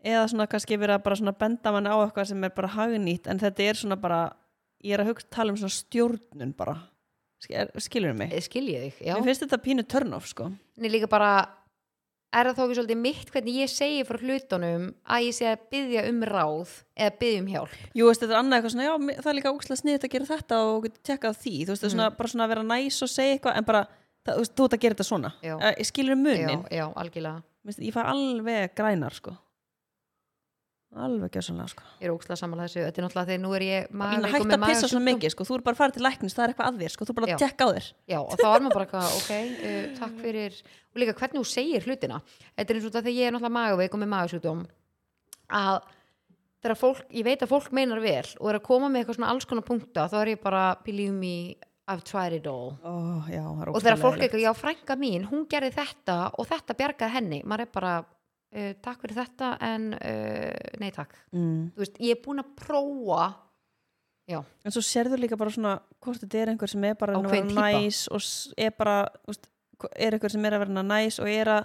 [SPEAKER 1] eða svona kannski verið að bara svona benda mann á eitthvað sem er bara hagnýtt en þetta er svona bara, ég er að hugsa tala um svona stjórnun bara skilur mig,
[SPEAKER 2] ég skilji þig, já.
[SPEAKER 1] mér finnst þetta pínu törnof sko,
[SPEAKER 2] En líka bara, er það þó ekki svolítið mitt hvernig ég segi frá hlutunum að ég sé að byggja um ráð eða byggja um hjálp?
[SPEAKER 1] Jú, veist, þetta er annað eitthvað svona, já, mér- það er líka ógslag sniðið að gera þetta og getur tjekkað á því, þú veist, það er
[SPEAKER 2] Mm.
[SPEAKER 1] svona, bara svona að vera næs og segja eitthvað, en bara, það, þú veist, þú ert að gera þetta svona,
[SPEAKER 2] Já.
[SPEAKER 1] Eh, ég skilur munin,
[SPEAKER 2] Já, já, algjörlega.
[SPEAKER 1] Vist, ég fæ alveg grænar, sko, alveg gjössanlega, sko.
[SPEAKER 2] Ég er ókslega samanlega þessu. Þetta er náttúrulega þegar nú er ég
[SPEAKER 1] Ég meina,
[SPEAKER 2] magveikur
[SPEAKER 1] hætt
[SPEAKER 2] með
[SPEAKER 1] að pissa svona
[SPEAKER 2] magasjúkdóm.
[SPEAKER 1] mikið, sko, þú er bara að fara til læknis, það er eitthvað að þér, sko, þú er bara
[SPEAKER 2] Já.
[SPEAKER 1] að tjekka á þér.
[SPEAKER 2] Já, og þá er maður bara eitthvað, ok, uh, takk fyrir og líka hvernig þú segir hlutina þetta er eins og þetta þegar ég er náttúrulega magaveik og með magasjúkdóm að þegar fólk, ég veit að fólk meinar vel og er að koma með eitthvað svona alls konar punkta þá er ég bara, believe me, I've tried it all
[SPEAKER 1] Ó, já, það er
[SPEAKER 2] og þegar fólk
[SPEAKER 1] ógeðslega
[SPEAKER 2] eitthvað, já, frænka mín hún gerði þetta og þetta bjargaði henni maður er bara, uh, takk fyrir þetta en, uh, nei takk
[SPEAKER 1] leiðilegt. Mm.
[SPEAKER 2] þú veist, ég er búin að prófa já,
[SPEAKER 1] en svo sérðu líka bara svona hvort þetta er einhver sem er bara að vera
[SPEAKER 2] Ákveðin típa.
[SPEAKER 1] næs og s- er bara úst, er einhver sem er að vera næs og er að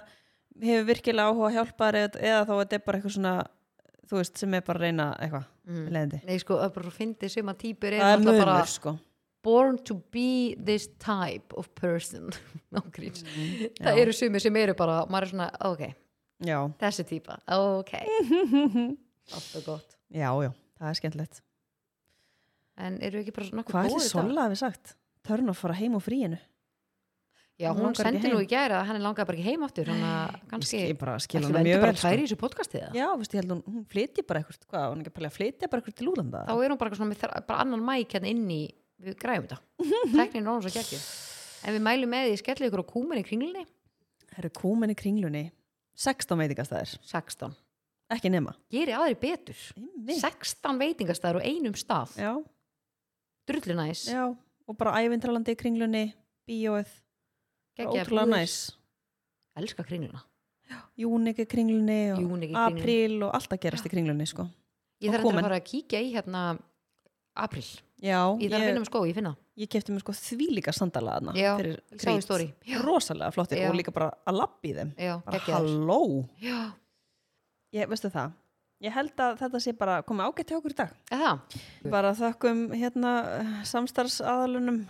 [SPEAKER 1] hefur virkilega áhuga að hjálpa þér eða, eða þá þetta er bara eitthvað svona þú veist, sem er bara að reyna eitthvað
[SPEAKER 2] Mm.
[SPEAKER 1] leiðandi.
[SPEAKER 2] nei sko, það er bara fyndið sem að týpur er
[SPEAKER 1] það er
[SPEAKER 2] náttúrulega
[SPEAKER 1] munur
[SPEAKER 2] bara-
[SPEAKER 1] sko
[SPEAKER 2] born to be this type of person Nágríns Það
[SPEAKER 1] Já.
[SPEAKER 2] eru sumir sem eru bara maður er svona, ok,
[SPEAKER 1] já,
[SPEAKER 2] þessi típa ok, allt og gott
[SPEAKER 1] já, já, það er skemmtilegt
[SPEAKER 2] En eru ekki bara nokkuð
[SPEAKER 1] hvað er
[SPEAKER 2] góð
[SPEAKER 1] þetta sola hafi sagt? Törn að fara heim og fríinu
[SPEAKER 2] Já, hún
[SPEAKER 1] Langar ekki
[SPEAKER 2] sendi nú
[SPEAKER 1] heim.
[SPEAKER 2] í gæra að henni langaði bara ekki heim aftur þannig að kannski,
[SPEAKER 1] ég bara skil
[SPEAKER 2] ætli
[SPEAKER 1] hana
[SPEAKER 2] við
[SPEAKER 1] mjög
[SPEAKER 2] endum bara
[SPEAKER 1] vel
[SPEAKER 2] að
[SPEAKER 1] sko.
[SPEAKER 2] tværi í þessu podcastið eða?
[SPEAKER 1] já, veist, ég held hún, hún flyti bara eitthvað hvað, hún er ekki að pæla að flytja bara eitthvað til útlanda
[SPEAKER 2] Þá er hún bara, eitthvað svona, með þra- bara annan mæk hérna inn í við græfum þetta Teknin er án svo gekkið En við mælum með því, skellið ykkur á kúmin í kringlinni
[SPEAKER 1] það eru kúmen í kringlunni 16 veitingastæðir,
[SPEAKER 2] 16,
[SPEAKER 1] ekki nema
[SPEAKER 2] gerir aðri betur
[SPEAKER 1] Einmitt.
[SPEAKER 2] 16 veitingastæður og einum stað
[SPEAKER 1] já,
[SPEAKER 2] drullinæs,
[SPEAKER 1] Já, og bara ævintralandi í kringlunni, bíóið, bara
[SPEAKER 2] geggjaðar
[SPEAKER 1] ótrúlega
[SPEAKER 2] búðir.
[SPEAKER 1] næs.
[SPEAKER 2] elska kringluna
[SPEAKER 1] Júnik í kringlunni og
[SPEAKER 2] Júnik í kringlunni.
[SPEAKER 1] apríl og allt að gerast í kringlunni, sko.
[SPEAKER 2] ég
[SPEAKER 1] Og
[SPEAKER 2] þarf endilega
[SPEAKER 1] komin.
[SPEAKER 2] að fara að kíkja í hérna april,
[SPEAKER 1] Já,
[SPEAKER 2] ég þarf að finna
[SPEAKER 1] ég,
[SPEAKER 2] með skó, ég finna
[SPEAKER 1] ég kefti mér sko þvílíka sandalaðna
[SPEAKER 2] Já,
[SPEAKER 1] fyrir
[SPEAKER 2] ég sá í
[SPEAKER 1] krít.
[SPEAKER 2] stóri já,
[SPEAKER 1] Rosalega flottir
[SPEAKER 2] Já.
[SPEAKER 1] og líka bara að lappi þeim.
[SPEAKER 2] já,
[SPEAKER 1] Bara
[SPEAKER 2] geggjaðar
[SPEAKER 1] halló.
[SPEAKER 2] já,
[SPEAKER 1] Ég, veistu það, ég held að þetta sé bara komið ágætt hjá okkur í dag.
[SPEAKER 2] er það,
[SPEAKER 1] Bara þökkum hérna samstarfsaðalunum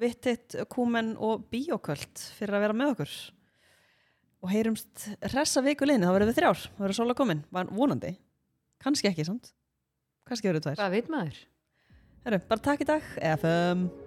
[SPEAKER 1] vittitt kúmen og bíóköld fyrir að vera með okkur. Og heyrumst hressa viku liðni, þá verðum við þrjár, þá verður Sola komin, var vonandi. Kanski ekki samt, kannski verður tvær.
[SPEAKER 2] hvað veit maður
[SPEAKER 1] Herru, bara takk í dag, FM.